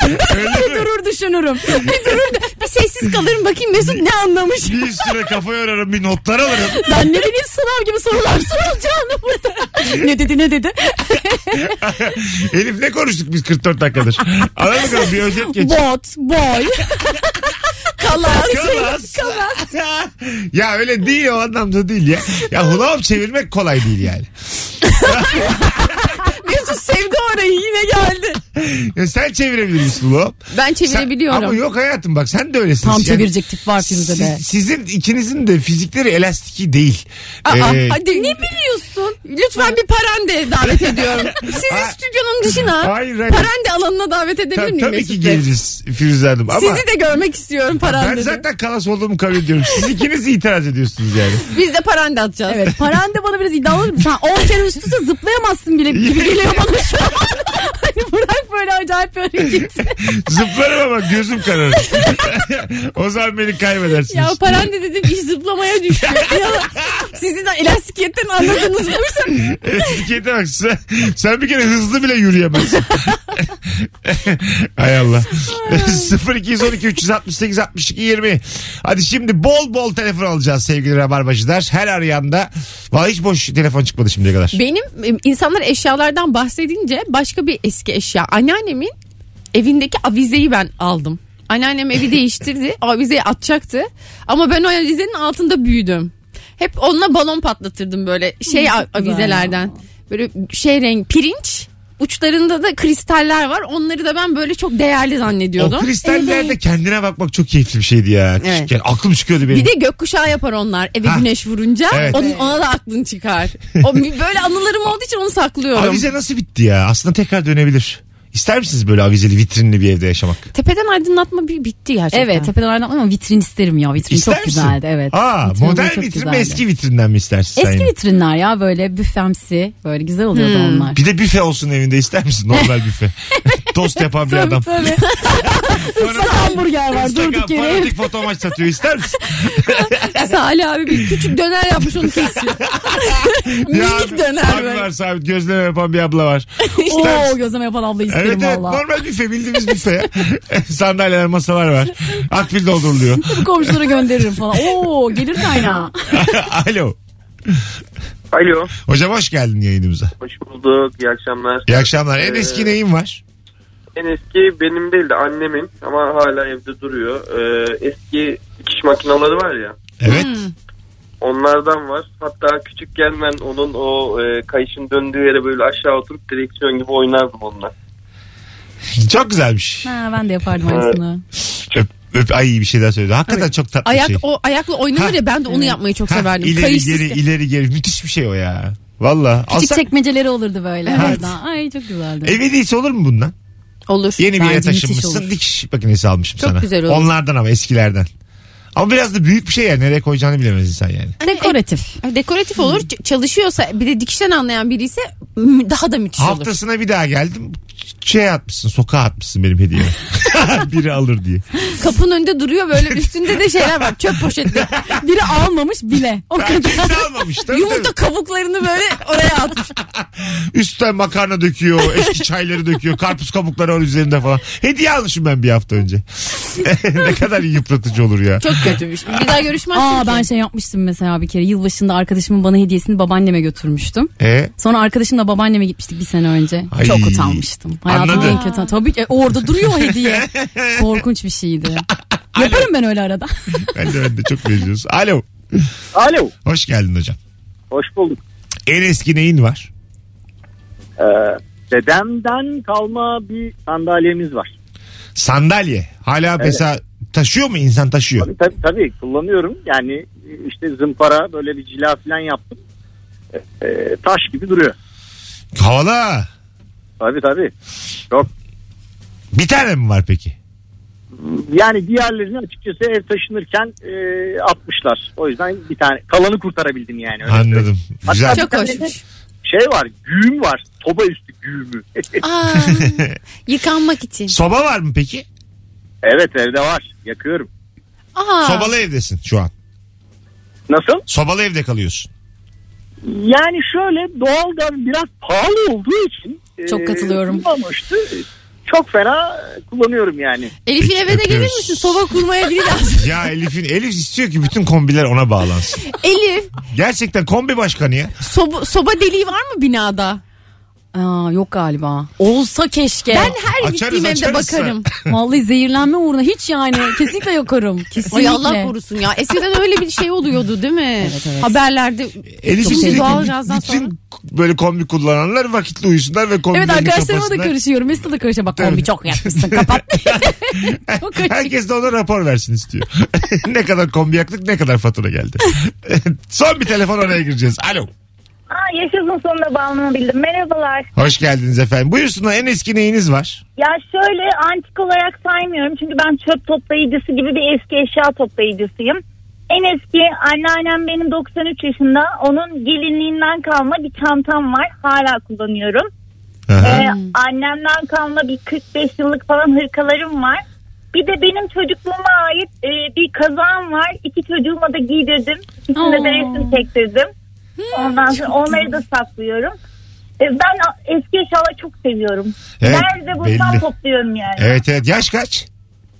Speaker 4: bir durur düşünürüm. Bir durur bir sessiz kalırım bakayım Mesut ne anlamış.
Speaker 2: Bir süre kafa yorarım bir notlar alırım.
Speaker 4: Ben ne bileyim sınav gibi sorular sorulacağını burada. ne dedi ne dedi?
Speaker 2: Elif ne konuştuk biz 44 dakikadır. Anladın mı? Bir özet geç.
Speaker 4: Bot, boy. Kalas.
Speaker 2: Kalas. ya öyle değil o anlamda değil ya. Ya hula hoop çevirmek kolay değil yani.
Speaker 4: Mesut sevdi orayı yine geldi.
Speaker 2: Ya sen çevirebilir misin hula hoop? Sen-
Speaker 4: Ben çevirebiliyorum.
Speaker 2: ama yok hayatım bak sen de öylesin.
Speaker 3: Tam
Speaker 2: Yani
Speaker 3: çevirecek tip var Firuze de.
Speaker 2: siz- sizin ikinizin de fizikleri elastiki değil.
Speaker 4: Aa,
Speaker 2: Ee,
Speaker 4: hadi ne biliyorsun? Lütfen bir parande davet ediyorum.
Speaker 2: Ha-
Speaker 4: Sizi stüdyonun dışına
Speaker 2: Hayır, hayır.
Speaker 4: parande alanına davet edebilir
Speaker 2: ta-
Speaker 4: miyim
Speaker 2: tabii
Speaker 4: Mesut
Speaker 2: ki
Speaker 4: Bey?
Speaker 2: geliriz Firuze Hanım ama
Speaker 4: Sizi de görmek istiyorum
Speaker 2: ben
Speaker 4: parandede.
Speaker 2: zaten kalas olduğumu kabul ediyorum. Siz ikiniz itiraz ediyorsunuz yani.
Speaker 4: Biz de parande atacağız.
Speaker 3: Evet paran da bana biraz iddialı olur. Sen 10 kere üst üste zıplayamazsın bile gibi geliyor bana şu an. hani bırak böyle acayip bir hareket.
Speaker 2: Zıplarım ama gözüm kararır. o zaman beni kaybedersiniz.
Speaker 4: Ya parande dedim iş zıplamaya düştü. ya, sizin de elastikiyetten anladığınız buysa
Speaker 2: Etikete bak sen, sen bir kere hızlı bile yürüyemezsin. Hay Allah. 0212 368 62 20. Hadi şimdi bol bol telefon alacağız sevgili Rabarbacılar. Her arayanda. Valla hiç boş telefon çıkmadı şimdiye kadar.
Speaker 4: Benim e, insanlar eşyalardan bahsedince başka bir eski eşya. Anneannemin evindeki avizeyi ben aldım. Anneannem evi değiştirdi. O avizeyi atacaktı. Ama ben o avizenin altında büyüdüm. Hep onunla balon patlatırdım böyle şey a- avizelerden. Böyle şey renk pirinç. Uçlarında da kristaller var. Onları da ben böyle çok değerli zannediyordum.
Speaker 2: O kristallerde kendine bakmak çok keyifli bir şeydi ya.
Speaker 4: Evet.
Speaker 2: Küçükken aklım çıkıyordu benim.
Speaker 4: Bir de gökkuşağı yapar onlar eve
Speaker 2: Ha.
Speaker 4: güneş vurunca.
Speaker 2: Evet.
Speaker 4: Onun, ona da aklın çıkar. O, böyle anılarım olduğu için onu saklıyorum.
Speaker 2: Avize nasıl bitti ya? Aslında tekrar dönebilir. İster misiniz böyle avizeli vitrinli bir evde yaşamak?
Speaker 4: Tepeden aydınlatma bir bitti gerçekten.
Speaker 3: evet tepeden aydınlatma ama vitrin isterim ya. Vitrin
Speaker 2: İster
Speaker 3: çok
Speaker 2: misin?
Speaker 3: güzeldi evet.
Speaker 2: Aa,
Speaker 3: Vitrin
Speaker 2: modern vitrin
Speaker 3: çok
Speaker 2: mi
Speaker 3: güzeldi.
Speaker 2: eski vitrinden mi istersin sen
Speaker 3: Eski
Speaker 2: yine?
Speaker 3: vitrinler ya böyle büfemsi böyle güzel oluyordu onlar.
Speaker 2: Bir de büfe olsun evinde ister misin? Normal büfe. Tost yapan bir adam.
Speaker 3: Tabii.
Speaker 2: Fanatik-
Speaker 3: hamburger var
Speaker 2: Instagram
Speaker 3: durduk yere.
Speaker 2: Fanatik foto maç satıyor ister misin?
Speaker 4: Salih abi bir küçük döner yapmış onu kesiyor. Minik döner
Speaker 2: abi
Speaker 4: böyle.
Speaker 2: var sabit gözleme yapan bir abla var. İster
Speaker 3: Oo
Speaker 2: misin?
Speaker 3: gözleme yapan abla isterim
Speaker 2: Evet evet
Speaker 3: valla.
Speaker 2: normal büfe bildiğimiz büfe ya. Sandalyeler masalar var. Akbil dolduruluyor.
Speaker 3: Komşulara gönderirim falan. Oo gelir kaynağı.
Speaker 2: Alo.
Speaker 8: Alo.
Speaker 2: Hocam hoş geldin yayınımıza.
Speaker 8: Hoş bulduk. İyi akşamlar.
Speaker 2: İyi akşamlar. En eski neyin var?
Speaker 8: En eski benim değil de annemin ama hala evde duruyor. Ee, eski dikiş makineleri var ya.
Speaker 2: Evet.
Speaker 4: Hmm.
Speaker 8: Onlardan var. Hatta küçükken ben onun o e, kayışın döndüğü yere böyle aşağı oturup direksiyon gibi oynardım onunla.
Speaker 4: Hmm.
Speaker 2: Çok güzelmiş.
Speaker 3: Ha, ben de yapardım aynısını.
Speaker 2: Öp, öp, ay iyi bir şey daha söyledi. Hakikaten çok tatlı
Speaker 4: Ayak
Speaker 2: şey.
Speaker 4: o ayakla oynanır
Speaker 2: Ha.
Speaker 4: ya ben de onu yapmayı çok
Speaker 2: Ha,
Speaker 4: severdim.
Speaker 2: İleri
Speaker 4: Kayışsız.
Speaker 2: geri ileri geri müthiş bir şey o ya. Valla.
Speaker 3: Küçük
Speaker 2: Alsak
Speaker 3: çekmeceleri olurdu böyle.
Speaker 2: Evet. E-
Speaker 3: oradan. Ay çok güzeldi.
Speaker 2: ev hediyesi olur mu bundan?
Speaker 4: Olur.
Speaker 2: Yeni bir
Speaker 3: Bence
Speaker 2: yere
Speaker 3: müthiş
Speaker 2: taşınmışsın.
Speaker 3: olur.
Speaker 2: Dikiş makinesi almışım
Speaker 4: Çok
Speaker 2: sana.
Speaker 4: güzel olur.
Speaker 2: Onlardan ama eskilerden. Ama biraz da büyük bir şey ya. Nereye koyacağını bilemez insan yani.
Speaker 3: Dekoratif.
Speaker 4: E, Dekoratif olur. Ç- Çalışıyorsa bir de dikişten anlayan biri ise m- daha da müthiş olur.
Speaker 2: Haftasına bir daha geldim. Şey atmışsın. Sokağa atmışsın benim hediyemi. Biri alır diye.
Speaker 4: Kapının önünde duruyor böyle üstünde de şeyler var. Çöp poşetleri.
Speaker 3: Biri almamış bile. O kadar.
Speaker 2: Kimse almamış. Tabii,
Speaker 4: Yumurta kabuklarını böyle oraya atmış.
Speaker 2: tabii. Üstten makarna döküyor. Eski çayları döküyor. Karpuz kabukları var üzerinde falan. Hediye almışım ben bir hafta önce. ne kadar yıpratıcı olur ya.
Speaker 4: Çok kötüymüş. Bir daha görüşmezsin
Speaker 3: Aa
Speaker 4: ki.
Speaker 3: ben şey yapmıştım mesela bir kere yılbaşında arkadaşımın bana hediyesini babaanneme götürmüştüm.
Speaker 2: E?
Speaker 3: Sonra arkadaşımla babaanneme gitmiştik bir sene önce.
Speaker 2: Ay.
Speaker 3: Çok utanmıştım. Hayatımın
Speaker 2: Anladı.
Speaker 3: en kötü. Tabii ki e, orada duruyor o hediye. Korkunç bir şeydi. Yaparım ben öyle arada.
Speaker 2: Ben de, ben de çok benziyoruz. Alo.
Speaker 5: Alo.
Speaker 2: Hoş geldin hocam.
Speaker 5: Hoş bulduk.
Speaker 2: En eski neyin var?
Speaker 5: Ee, dedemden kalma bir sandalyemiz var.
Speaker 2: Sandalye. Hala mesela taşıyor mu insan taşıyor?
Speaker 5: Tabii, tabii, tabii kullanıyorum. Yani e, işte zımpara böyle bir cila falan yaptım. Ee, taş gibi duruyor.
Speaker 2: Havalı.
Speaker 5: Tabii tabii.
Speaker 2: Bir tane mi var peki?
Speaker 5: Yani diğerlerini açıkçası ev taşınırken e, atmışlar. O yüzden bir tane kalanı kurtarabildim yani. Öyle söyleyeyim.
Speaker 2: Anladım. Güzel.
Speaker 4: Çok hoşmuş.
Speaker 5: Şey var güğüm var. Soba üstü güğümü.
Speaker 4: Aa, yıkanmak için.
Speaker 2: Soba var mı peki?
Speaker 5: evet evde var. Yakıyorum.
Speaker 4: Aa,
Speaker 2: Sobalı evdesin şu an.
Speaker 7: Nasıl?
Speaker 2: Sobalı evde kalıyorsun.
Speaker 7: Yani şöyle doğalgaz biraz pahalı olduğu için.
Speaker 4: Ee.
Speaker 7: e,
Speaker 3: Çok katılıyorum.
Speaker 7: Bulmamıştı. Çok fena kullanıyorum yani.
Speaker 4: Elif'in eve de gelir
Speaker 2: öpüyoruz.
Speaker 4: misin? Soba kurmaya biri lazım.
Speaker 2: Ya Elif'in Elif istiyor ki bütün kombiler ona bağlansın.
Speaker 4: Elif
Speaker 2: Gerçekten kombi başkanı ya.
Speaker 4: soba, soba deliği var mı binada?
Speaker 3: Aa, yok galiba. Olsa keşke.
Speaker 4: Ben her
Speaker 2: Açarız,
Speaker 4: gittiğim evde
Speaker 2: açarız sen.
Speaker 4: bakarım.
Speaker 3: Vallahi zehirlenme uğruna hiç yani kesinlikle yakarım. Kesinlikle.
Speaker 4: Ay Allah korusun ya. Eskiden öyle bir şey oluyordu değil mi?
Speaker 3: Evet, evet.
Speaker 4: Haberlerde.
Speaker 2: E, Elif
Speaker 4: Şimdi
Speaker 2: istiyor ki
Speaker 4: doğalgazdan
Speaker 2: bütün
Speaker 4: sonra.
Speaker 2: böyle kombi kullananlar vakitli uyusunlar ve kombilerini
Speaker 3: Evet arkadaşlarıma da
Speaker 2: kapasınlar.
Speaker 3: karışıyorum. Mesut'a da karışıyorum. Bak
Speaker 2: Tabii.
Speaker 3: kombi çok yakmışsın kapat. çok açık.
Speaker 2: Herkes de ona rapor versin istiyor. ne kadar kombi yaktık ne kadar fatura geldi. Son bir telefon oraya gireceğiz. Alo.
Speaker 9: Aa, yaşasın sonunda bağımlılığını bildim. Merhabalar.
Speaker 2: Hoş geldiniz efendim. Buyursunlar en eski neyiniz var?
Speaker 9: Ya şöyle antik olarak saymıyorum. Çünkü ben çöp toplayıcısı gibi bir eski eşya toplayıcısıyım. En eski anneannem benim 93 yaşında. Onun gelinliğinden kalma bir çantam var. Hala kullanıyorum.
Speaker 2: Aha.
Speaker 9: Ee,
Speaker 2: Hmm.
Speaker 9: annemden kalma bir 45 yıllık falan hırkalarım var. Bir de benim çocukluğuma ait e, bir kazağım var. İki çocuğuma da giydirdim. İkisine de
Speaker 3: Aa.
Speaker 9: resim çektirdim.
Speaker 2: Hmm,
Speaker 9: Ondan sonra onları da saklıyorum. E, ben a- eski eşyaları çok seviyorum.
Speaker 2: Evet,
Speaker 9: Nerede bulsam
Speaker 2: belli.
Speaker 9: topluyorum yani.
Speaker 2: Evet evet yaş kaç?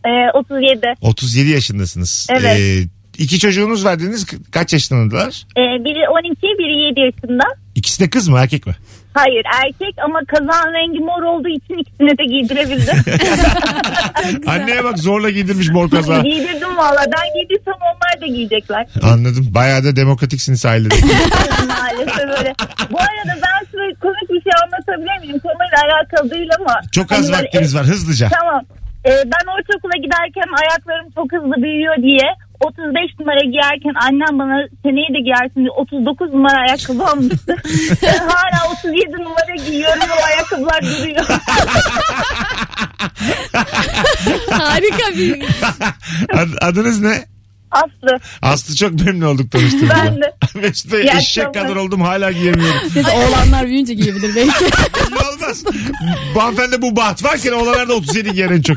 Speaker 9: E, 37.
Speaker 2: 37 yaşındasınız.
Speaker 9: Evet.
Speaker 2: Ee, iki çocuğunuz var dediniz Ka- kaç yaşındalar?
Speaker 9: E, biri 12, biri 7 yaşında.
Speaker 2: İkisi de kız mı erkek mi?
Speaker 9: Hayır erkek ama kazağın rengi mor olduğu için ikisine de giydirebildim.
Speaker 2: Anneye bak zorla giydirmiş mor kaza.
Speaker 9: Giydirdim valla. Ben giydirsem onlar da giyecekler.
Speaker 2: Anladım. Bayağı da demokratiksiniz ailede.
Speaker 9: maalesef öyle. Bu arada ben size komik bir şey anlatabilir miyim? Konuyla alakalı değil ama.
Speaker 2: Çok az
Speaker 9: Hani böyle-
Speaker 2: vaktimiz var hızlıca.
Speaker 9: Tamam. Ee, ben ortaokula giderken ayaklarım çok hızlı büyüyor diye 35 numara giyerken annem bana seneye de giyersin diye 39 numara ayakkabı almıştı. ben hala 37 numara giyiyorum ve o ayakkabılar duruyor.
Speaker 4: Harika bir
Speaker 2: Ad- Adınız ne?
Speaker 9: Aslı.
Speaker 2: Aslı çok memnun olduk tanıştığımıza.
Speaker 9: Ben de.
Speaker 2: Mesut'a
Speaker 9: İyi
Speaker 2: eşek
Speaker 9: akşamlar.
Speaker 2: kadar oldum hala giyemiyorum.
Speaker 3: Neyse oğlanlar büyüyünce giyebilir belki.
Speaker 2: Belli olmaz. Hanımefendi bu baht varken oğlanlarda 37 giyen çok.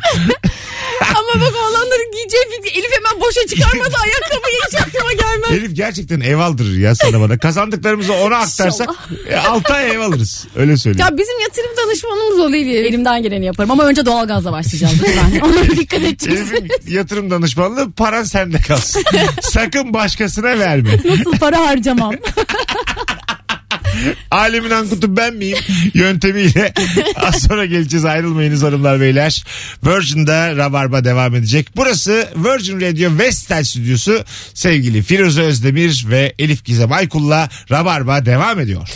Speaker 4: Ama bak oğlanların giyeceği fikri. Elif hemen boşa çıkarmadı ayakkabıyı hiç aklıma gelmez.
Speaker 2: Elif gerçekten ev aldırır ya sana bana. Kazandıklarımızı ona aktarsak 6 ay ev alırız. Öyle söyleyeyim.
Speaker 4: Ya bizim yatırım danışmanımız ol Elif.
Speaker 3: Elimden geleni yaparım ama önce doğalgazla başlayacağız lütfen. Ona dikkat edeceğiz.
Speaker 2: Elif'in yatırım danışmanlığı paran sende kalsın. Sakın başkasına verme.
Speaker 3: Nasıl para harcamam.
Speaker 2: Alemin Ankut'u ben miyim? Yöntemiyle az sonra geleceğiz ayrılmayınız hanımlar beyler. Virgin'de Rabarba devam edecek. Burası Virgin Radio Vestel Stüdyosu. Sevgili Firuze Özdemir ve Elif Gizem Aykul'la Rabarba devam ediyor.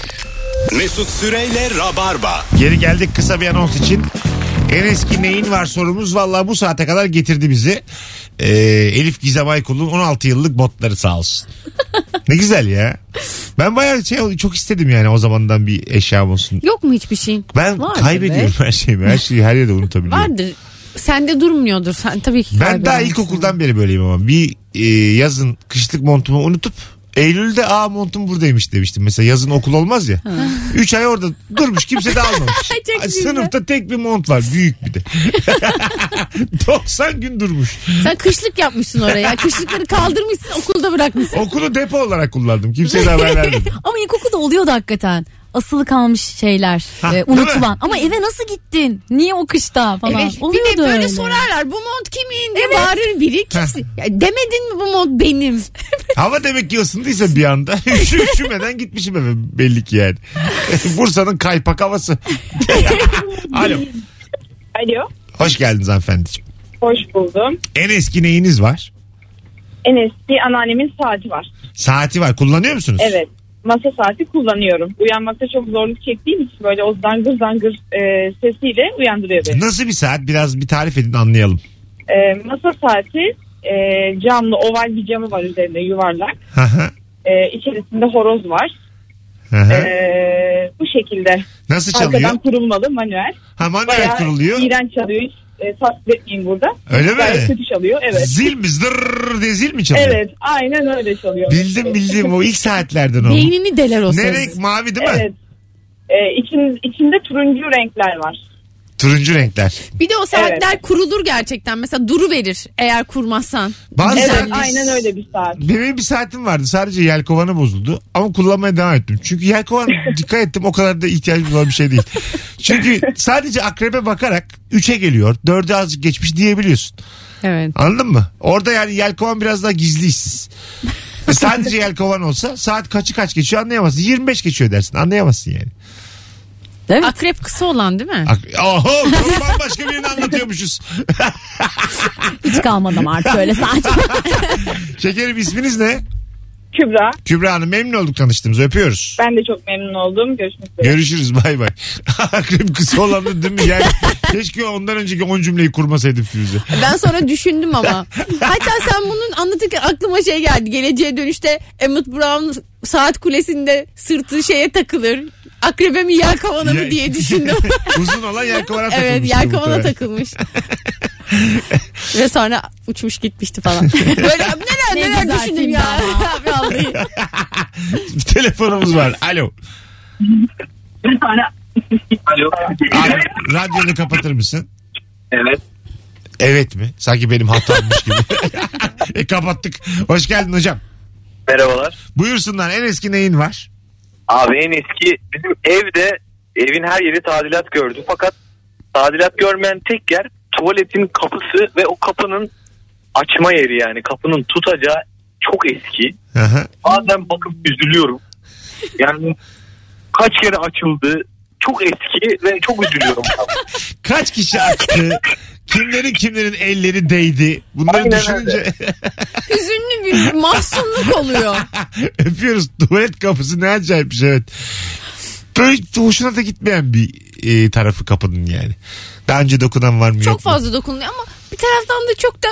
Speaker 1: Mesut Süreyle Rabarba.
Speaker 2: Geri geldik kısa bir anons için. En eski neyin var sorumuz valla bu saate kadar getirdi bizi. Ee, Elif Gizem Aykul'un 16 yıllık botları sağ olsun. ne güzel ya. Ben bayağı şey, çok istedim yani o zamandan bir eşyam olsun.
Speaker 4: Yok mu hiçbir şey? şeyin?
Speaker 2: Ben
Speaker 4: Vardır
Speaker 2: kaybediyorum her şeyimi. Her şeyi her yerde unutabiliyorum.
Speaker 4: Vardır. Sende durmuyordur. Sen tabii ki
Speaker 2: Ben daha
Speaker 4: kaybedersin.
Speaker 2: ilkokuldan beri böyleyim ama. Bir e, yazın kışlık montumu unutup Eylül'de aa montum buradaymış demiştim. Mesela yazın okul olmaz ya. 3 ay orada durmuş kimse de almamış.
Speaker 4: Çok güzel.
Speaker 2: Sınıfta tek bir mont var büyük bir de. 90 gün durmuş.
Speaker 4: Sen kışlık yapmışsın oraya. Kışlıkları kaldırmışsın okulda bırakmışsın.
Speaker 2: Okulu depo olarak kullandım. Kimseye de haber vermedim.
Speaker 3: ama ilkokulda oluyordu hakikaten. Asılı kalmış şeyler.
Speaker 2: Ha,
Speaker 3: e,
Speaker 2: değil
Speaker 3: unutulan. Ama eve nasıl gittin? Niye o kışta falan?
Speaker 4: Evet. Bir
Speaker 3: Oluyordu
Speaker 4: de böyle
Speaker 3: öyle.
Speaker 4: sorarlar. Bu mont kimin diye bağırır biri. Kimse. Ya demedin mi bu mont benim?
Speaker 2: Hava demek ki ısındıysa bir anda üşü, üşümeden gitmişim eve belli ki yani. Bursa'nın kaypak havası. Alo.
Speaker 9: Alo.
Speaker 2: Hoş geldiniz hanımefendiciğim.
Speaker 9: Hoş buldum.
Speaker 2: En eski neyiniz var?
Speaker 9: En eski anneannemin saati var.
Speaker 2: Saati var. Kullanıyor musunuz?
Speaker 9: Evet. Masa saati kullanıyorum. Uyanmakta çok zorluk çektiğim için böyle o zangır zangır e, sesiyle uyandırıyor beni.
Speaker 2: Nasıl bir saat? Biraz bir tarif edin anlayalım.
Speaker 9: E, masa saati e, camlı oval bir camı var üzerinde yuvarlak.
Speaker 2: Hı hı,
Speaker 9: E, içerisinde horoz var.
Speaker 2: hı hı.
Speaker 9: E, bu şekilde.
Speaker 2: Nasıl çalıyor?
Speaker 9: Arkadan kurulmalı manuel.
Speaker 2: Ha manuel
Speaker 9: Bayağı
Speaker 2: kuruluyor.
Speaker 9: iğrenç çalıyor. Hiç e, tasvip etmeyeyim burada.
Speaker 2: Öyle mi?
Speaker 9: Gayet kötü çalıyor. Evet.
Speaker 2: Zil mi? Zırrrr diye zil mi çalıyor?
Speaker 9: Evet. Aynen öyle çalıyor.
Speaker 2: Bildim bildim o ilk saatlerden o.
Speaker 4: Beynini deler o ses.
Speaker 2: Ne renk mavi değil mi?
Speaker 9: Evet. E, için, içinde turuncu renkler var.
Speaker 2: Turuncu renkler.
Speaker 4: Bir de o saatler kurulur gerçekten. Mesela duru verir eğer kurmazsan.
Speaker 2: Bazı
Speaker 4: Güzel.
Speaker 9: Evet
Speaker 2: saatler-
Speaker 9: aynen öyle bir saat.
Speaker 2: Benim bir saatim vardı. Sadece yelkovanı bozuldu. Ama kullanmaya devam ettim. Çünkü yelkovan dikkat ettim o kadar da ihtiyacım olan bir şey değil. Çünkü sadece akrebe bakarak 3'e geliyor. 4'e azıcık geçmiş diyebiliyorsun.
Speaker 4: Evet.
Speaker 2: Anladın mı? Orada yani yelkovan biraz daha gizli işsiz. E, sadece yelkovan olsa saat kaçı kaç geçiyor anlayamazsın. 25 geçiyor dersin anlayamazsın yani.
Speaker 3: Değil mi?
Speaker 4: Akrep kısa olan değil mi?
Speaker 2: Ak- Oho çok bambaşka birini anlatıyormuşuz.
Speaker 3: Hiç kalmadım artık öyle sadece.
Speaker 2: Şekerim isminiz ne?
Speaker 9: Kübra
Speaker 2: Kübra Hanım memnun olduk tanıştığımıza öpüyoruz.
Speaker 9: ben de çok memnun oldum. Görüşmek üzere.
Speaker 2: Görüşürüz bay bay. Akrep kısa olan da değil mi? Yani keşke ondan önceki 10 cümleyi kurmasaydım Firuze.
Speaker 4: Ben sonra düşündüm ama. Hatta sen bunun anlatırken aklıma şey geldi. Geleceğe dönüşte Emmett Brown saat kulesinde sırtı şeye takılır. Akrebe mi yelkovana
Speaker 2: Ya-
Speaker 4: mı diye düşündüm.
Speaker 2: Uzun olan yelkovana takılmış.
Speaker 4: evet yelkovana takılmış. Ve sonra uçmuş gitmişti falan. Böyle neler
Speaker 3: Ne
Speaker 4: neler
Speaker 3: güzel
Speaker 4: düşündüm
Speaker 3: film
Speaker 4: ya.
Speaker 3: ama.
Speaker 4: Vallahi.
Speaker 2: Bir telefonumuz var. Alo.
Speaker 8: Alo.
Speaker 2: Abi, radyonu kapatır mısın?
Speaker 8: Evet.
Speaker 2: Evet mi? Sanki benim hatammış gibi. e, kapattık. Hoş geldin hocam.
Speaker 8: Merhabalar.
Speaker 2: Buyursunlar en eski neyin var?
Speaker 8: Abi en eski bizim evde evin her yeri tadilat gördü. Fakat tadilat görmeyen tek yer tuvaletin kapısı ve o kapının açma yeri yani kapının tutacağı çok eski.
Speaker 2: Aha.
Speaker 8: Bazen bakıp üzülüyorum. Yani kaç kere açıldı çok eski ve çok üzülüyorum.
Speaker 2: Kaç kişi aktı? Kimlerin kimlerin elleri değdi? Bunları
Speaker 8: Aynen
Speaker 2: düşününce
Speaker 4: Hüzünlü bir mahzunluk oluyor.
Speaker 2: öpüyoruz. Tuvalet kapısı ne acayipmiş evet. Böyle hoşuna da gitmeyen bir e, tarafı kapının yani. Daha önce dokunan var mı yok
Speaker 4: Çok
Speaker 2: mu?
Speaker 4: fazla dokunuyor ama bir taraftan da çok da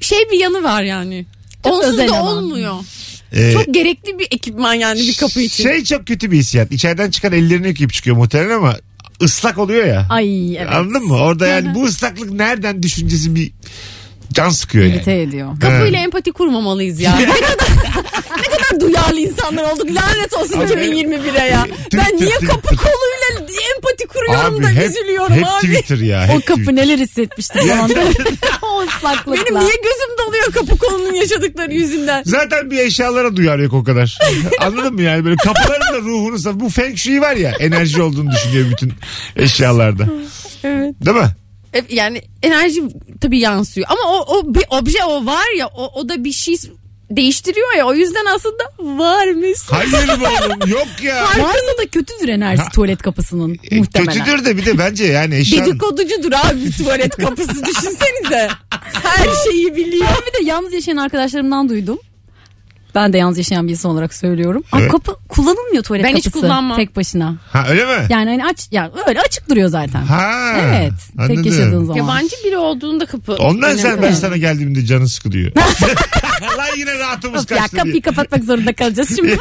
Speaker 4: şey bir yanı var yani.
Speaker 3: Çok
Speaker 4: Onsuz
Speaker 3: özel
Speaker 4: da
Speaker 3: ama.
Speaker 4: olmuyor.
Speaker 2: Ee,
Speaker 4: Çok gerekli bir ekipman yani bir kapı için.
Speaker 2: Şey çok kötü bir hissiyat. İçeriden çıkan ellerini yıkayıp çıkıyor muhtemelen ama ıslak oluyor ya.
Speaker 3: Ay evet.
Speaker 2: Anladın mı? Orada yani bu ıslaklık nereden düşüncesi bir can sıkıyor yani.
Speaker 3: İrite ediyor.
Speaker 4: Kapıyla empati kurmamalıyız ya. ne kadar ne kadar duyarlı insanlar olduk. Lanet olsun 2021'e ya.
Speaker 2: Twitter,
Speaker 4: Ben niye
Speaker 2: Twitter.
Speaker 4: kapı koluyla empati kuruyorum da
Speaker 2: hep,
Speaker 4: üzülüyorum
Speaker 2: hep
Speaker 4: abi.
Speaker 2: Twitter ya.
Speaker 3: O
Speaker 2: hep
Speaker 3: kapı
Speaker 2: Twitter.
Speaker 3: neler hissetmişti zamanda. o ıslaklıkla.
Speaker 4: Benim niye gözüm doluyor kapı kolunun yaşadıkları yüzünden.
Speaker 2: Zaten bir eşyalara duyar yok o kadar. Anladın mı yani böyle kapıların da ruhunu sat. Bu feng shui var ya enerji olduğunu düşünüyor bütün eşyalarda.
Speaker 4: Evet.
Speaker 2: Değil mi?
Speaker 4: E, Yani enerji tabii yansıyor ama o, o bir obje o var ya o, o da bir şey değiştiriyor ya o yüzden aslında varmış.
Speaker 2: Hayır mı oğlum yok ya.
Speaker 3: Varsa da kötüdür enerjisi tuvalet kapısının
Speaker 2: E,
Speaker 3: muhtemelen.
Speaker 2: Kötüdür de bir de bence yani eşyanın
Speaker 4: Dedikoducudur abi tuvalet kapısı düşünsenize. Her şeyi biliyor.
Speaker 3: Ben bir de yalnız yaşayan arkadaşlarımdan duydum. Ben de yalnız yaşayan birisi olarak söylüyorum. Ay,
Speaker 2: Evet.
Speaker 3: kapı kullanılmıyor tuvalet
Speaker 4: Ben hiç
Speaker 3: kapısı.
Speaker 4: kullanmam.
Speaker 3: Tek başına.
Speaker 2: Ha öyle mi?
Speaker 3: Yani hani aç ya öyle açık duruyor zaten.
Speaker 2: Ha.
Speaker 3: Evet.
Speaker 2: anladım.
Speaker 3: Tek yaşadığın zaman.
Speaker 4: Yabancı biri olduğunda kapı.
Speaker 2: Ondan
Speaker 4: önemli.
Speaker 2: sen ben sana geldiğimde canı sıkılıyor. Lan yine rahatımız
Speaker 3: Of ya
Speaker 2: kaçtı diye.
Speaker 3: kapıyı kapatmak zorunda kalacağız şimdi.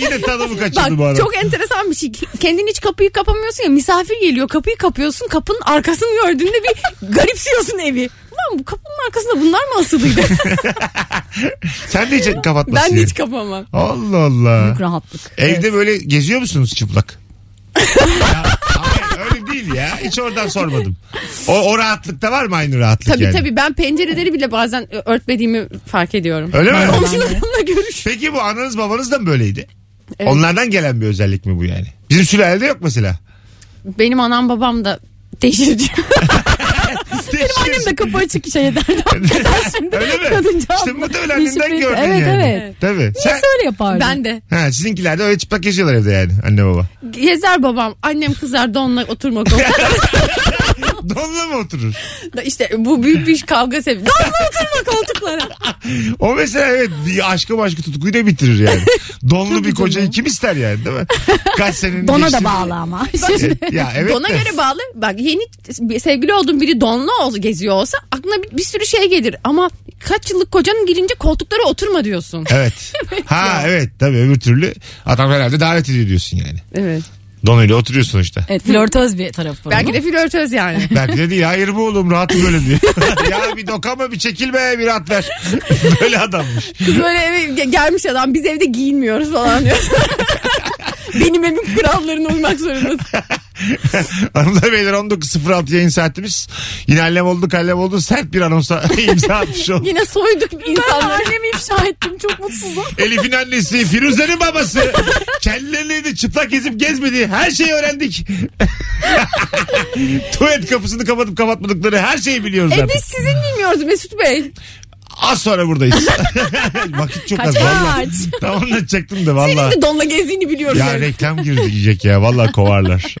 Speaker 2: yine tadımı kaçırdı bu
Speaker 4: Bak
Speaker 2: arada.
Speaker 4: çok enteresan bir şey. Kendin hiç kapıyı kapamıyorsun ya misafir geliyor kapıyı kapıyorsun kapının arkasını gördüğünde bir garipsiyorsun evi. Lan bu kapının arkasında bunlar mı asılıydı?
Speaker 2: Sen de hiç kapatmasın.
Speaker 4: ben de
Speaker 2: yani.
Speaker 4: hiç kapamam.
Speaker 2: Allah Allah.
Speaker 3: Büyük rahatlık.
Speaker 2: Evde böyle geziyor musunuz çıplak? ya, hayır, öyle değil ya. Hiç oradan sormadım. O, o rahatlıkta var mı aynı rahatlık
Speaker 4: Tabii
Speaker 2: yani?
Speaker 4: tabii ben pencereleri bile bazen örtmediğimi fark ediyorum.
Speaker 2: Öyle mi?
Speaker 4: Komşularımla görüş.
Speaker 2: Peki bu ananız babanız da mı böyleydi? Onlardan gelen bir özellik mi bu yani? Bizim sülalede yok mesela.
Speaker 4: Benim anam babam da değişici.
Speaker 3: Benim de kapı açık şey ederdi. şimdi.
Speaker 2: Öyle mi?
Speaker 3: Kadınca
Speaker 2: İşte
Speaker 3: abla.
Speaker 2: muhtemelen annenden
Speaker 3: Hiçbir-
Speaker 2: gördün
Speaker 3: evet,
Speaker 2: yani.
Speaker 3: Evet
Speaker 2: Tabii. Sen,
Speaker 3: Nasıl öyle yapardı?
Speaker 4: ben de.
Speaker 2: ha, sizinkiler de öyle çıplak geziyorlar evde yani anne baba.
Speaker 4: Gezer babam. Annem kızar donla oturmak olur.
Speaker 2: Donla mı oturur?
Speaker 4: Da işte bu büyük bir kavga sebebi. Donla oturma koltuklara.
Speaker 2: O mesela evet bir aşkı başka tutkuyu da bitirir yani. Donlu bir kocayı kim ister yani değil mi? Kaç senenin
Speaker 3: Dona da
Speaker 2: geçtiğini-
Speaker 3: bağlı ama. Şimdi.
Speaker 2: E, ya evet
Speaker 4: Dona
Speaker 2: de.
Speaker 4: göre bağlı. Bak yeni sevgili olduğum biri donla ol- geziyor olsa aklına bir, bir sürü şey gelir. Ama kaç yıllık kocanın gelince koltuklara oturma diyorsun.
Speaker 2: Evet. ha evet tabii öbür türlü adam herhalde davet ediyor diyorsun yani.
Speaker 4: Evet.
Speaker 2: Donuyla oturuyor sonuçta.
Speaker 3: Evet flörtöz bir tarafı. var
Speaker 4: Belki
Speaker 3: ama.
Speaker 4: de flörtöz yani.
Speaker 2: Belki de değil hayır mı oğlum rahat böyle diyor. ya bir dokama bir çekilme bir rahat ver. böyle adammış.
Speaker 4: Kız böyle eve ge- gelmiş adam biz evde giyinmiyoruz falan diyor. Benim evim kurallarına uymak zorundasın.
Speaker 2: Hanımlar beyler 19.06 yayın saatimiz. Yine allem olduk allem oldu sert bir anonsa imza atmış olduk.
Speaker 4: Yine soyduk insanları.
Speaker 3: Annemi ifşa ettim çok mutsuzum.
Speaker 2: Elif'in annesi, Firuze'nin babası. Kendilerini de çıplak gezip gezmediği her şeyi öğrendik. Tuvalet kapısını kapatıp kapatmadıkları her şeyi biliyoruz
Speaker 4: E
Speaker 2: artık.
Speaker 4: biz sizin bilmiyoruz Mesut Bey.
Speaker 2: Az sonra buradayız. Vakit çok az.
Speaker 4: Kaç?
Speaker 2: Vallahi. Tam anlatacaktım da valla.
Speaker 4: Senin de donla gezdiğini biliyoruz.
Speaker 2: Ya
Speaker 4: yani.
Speaker 2: reklam girecek ya. Valla kovarlar.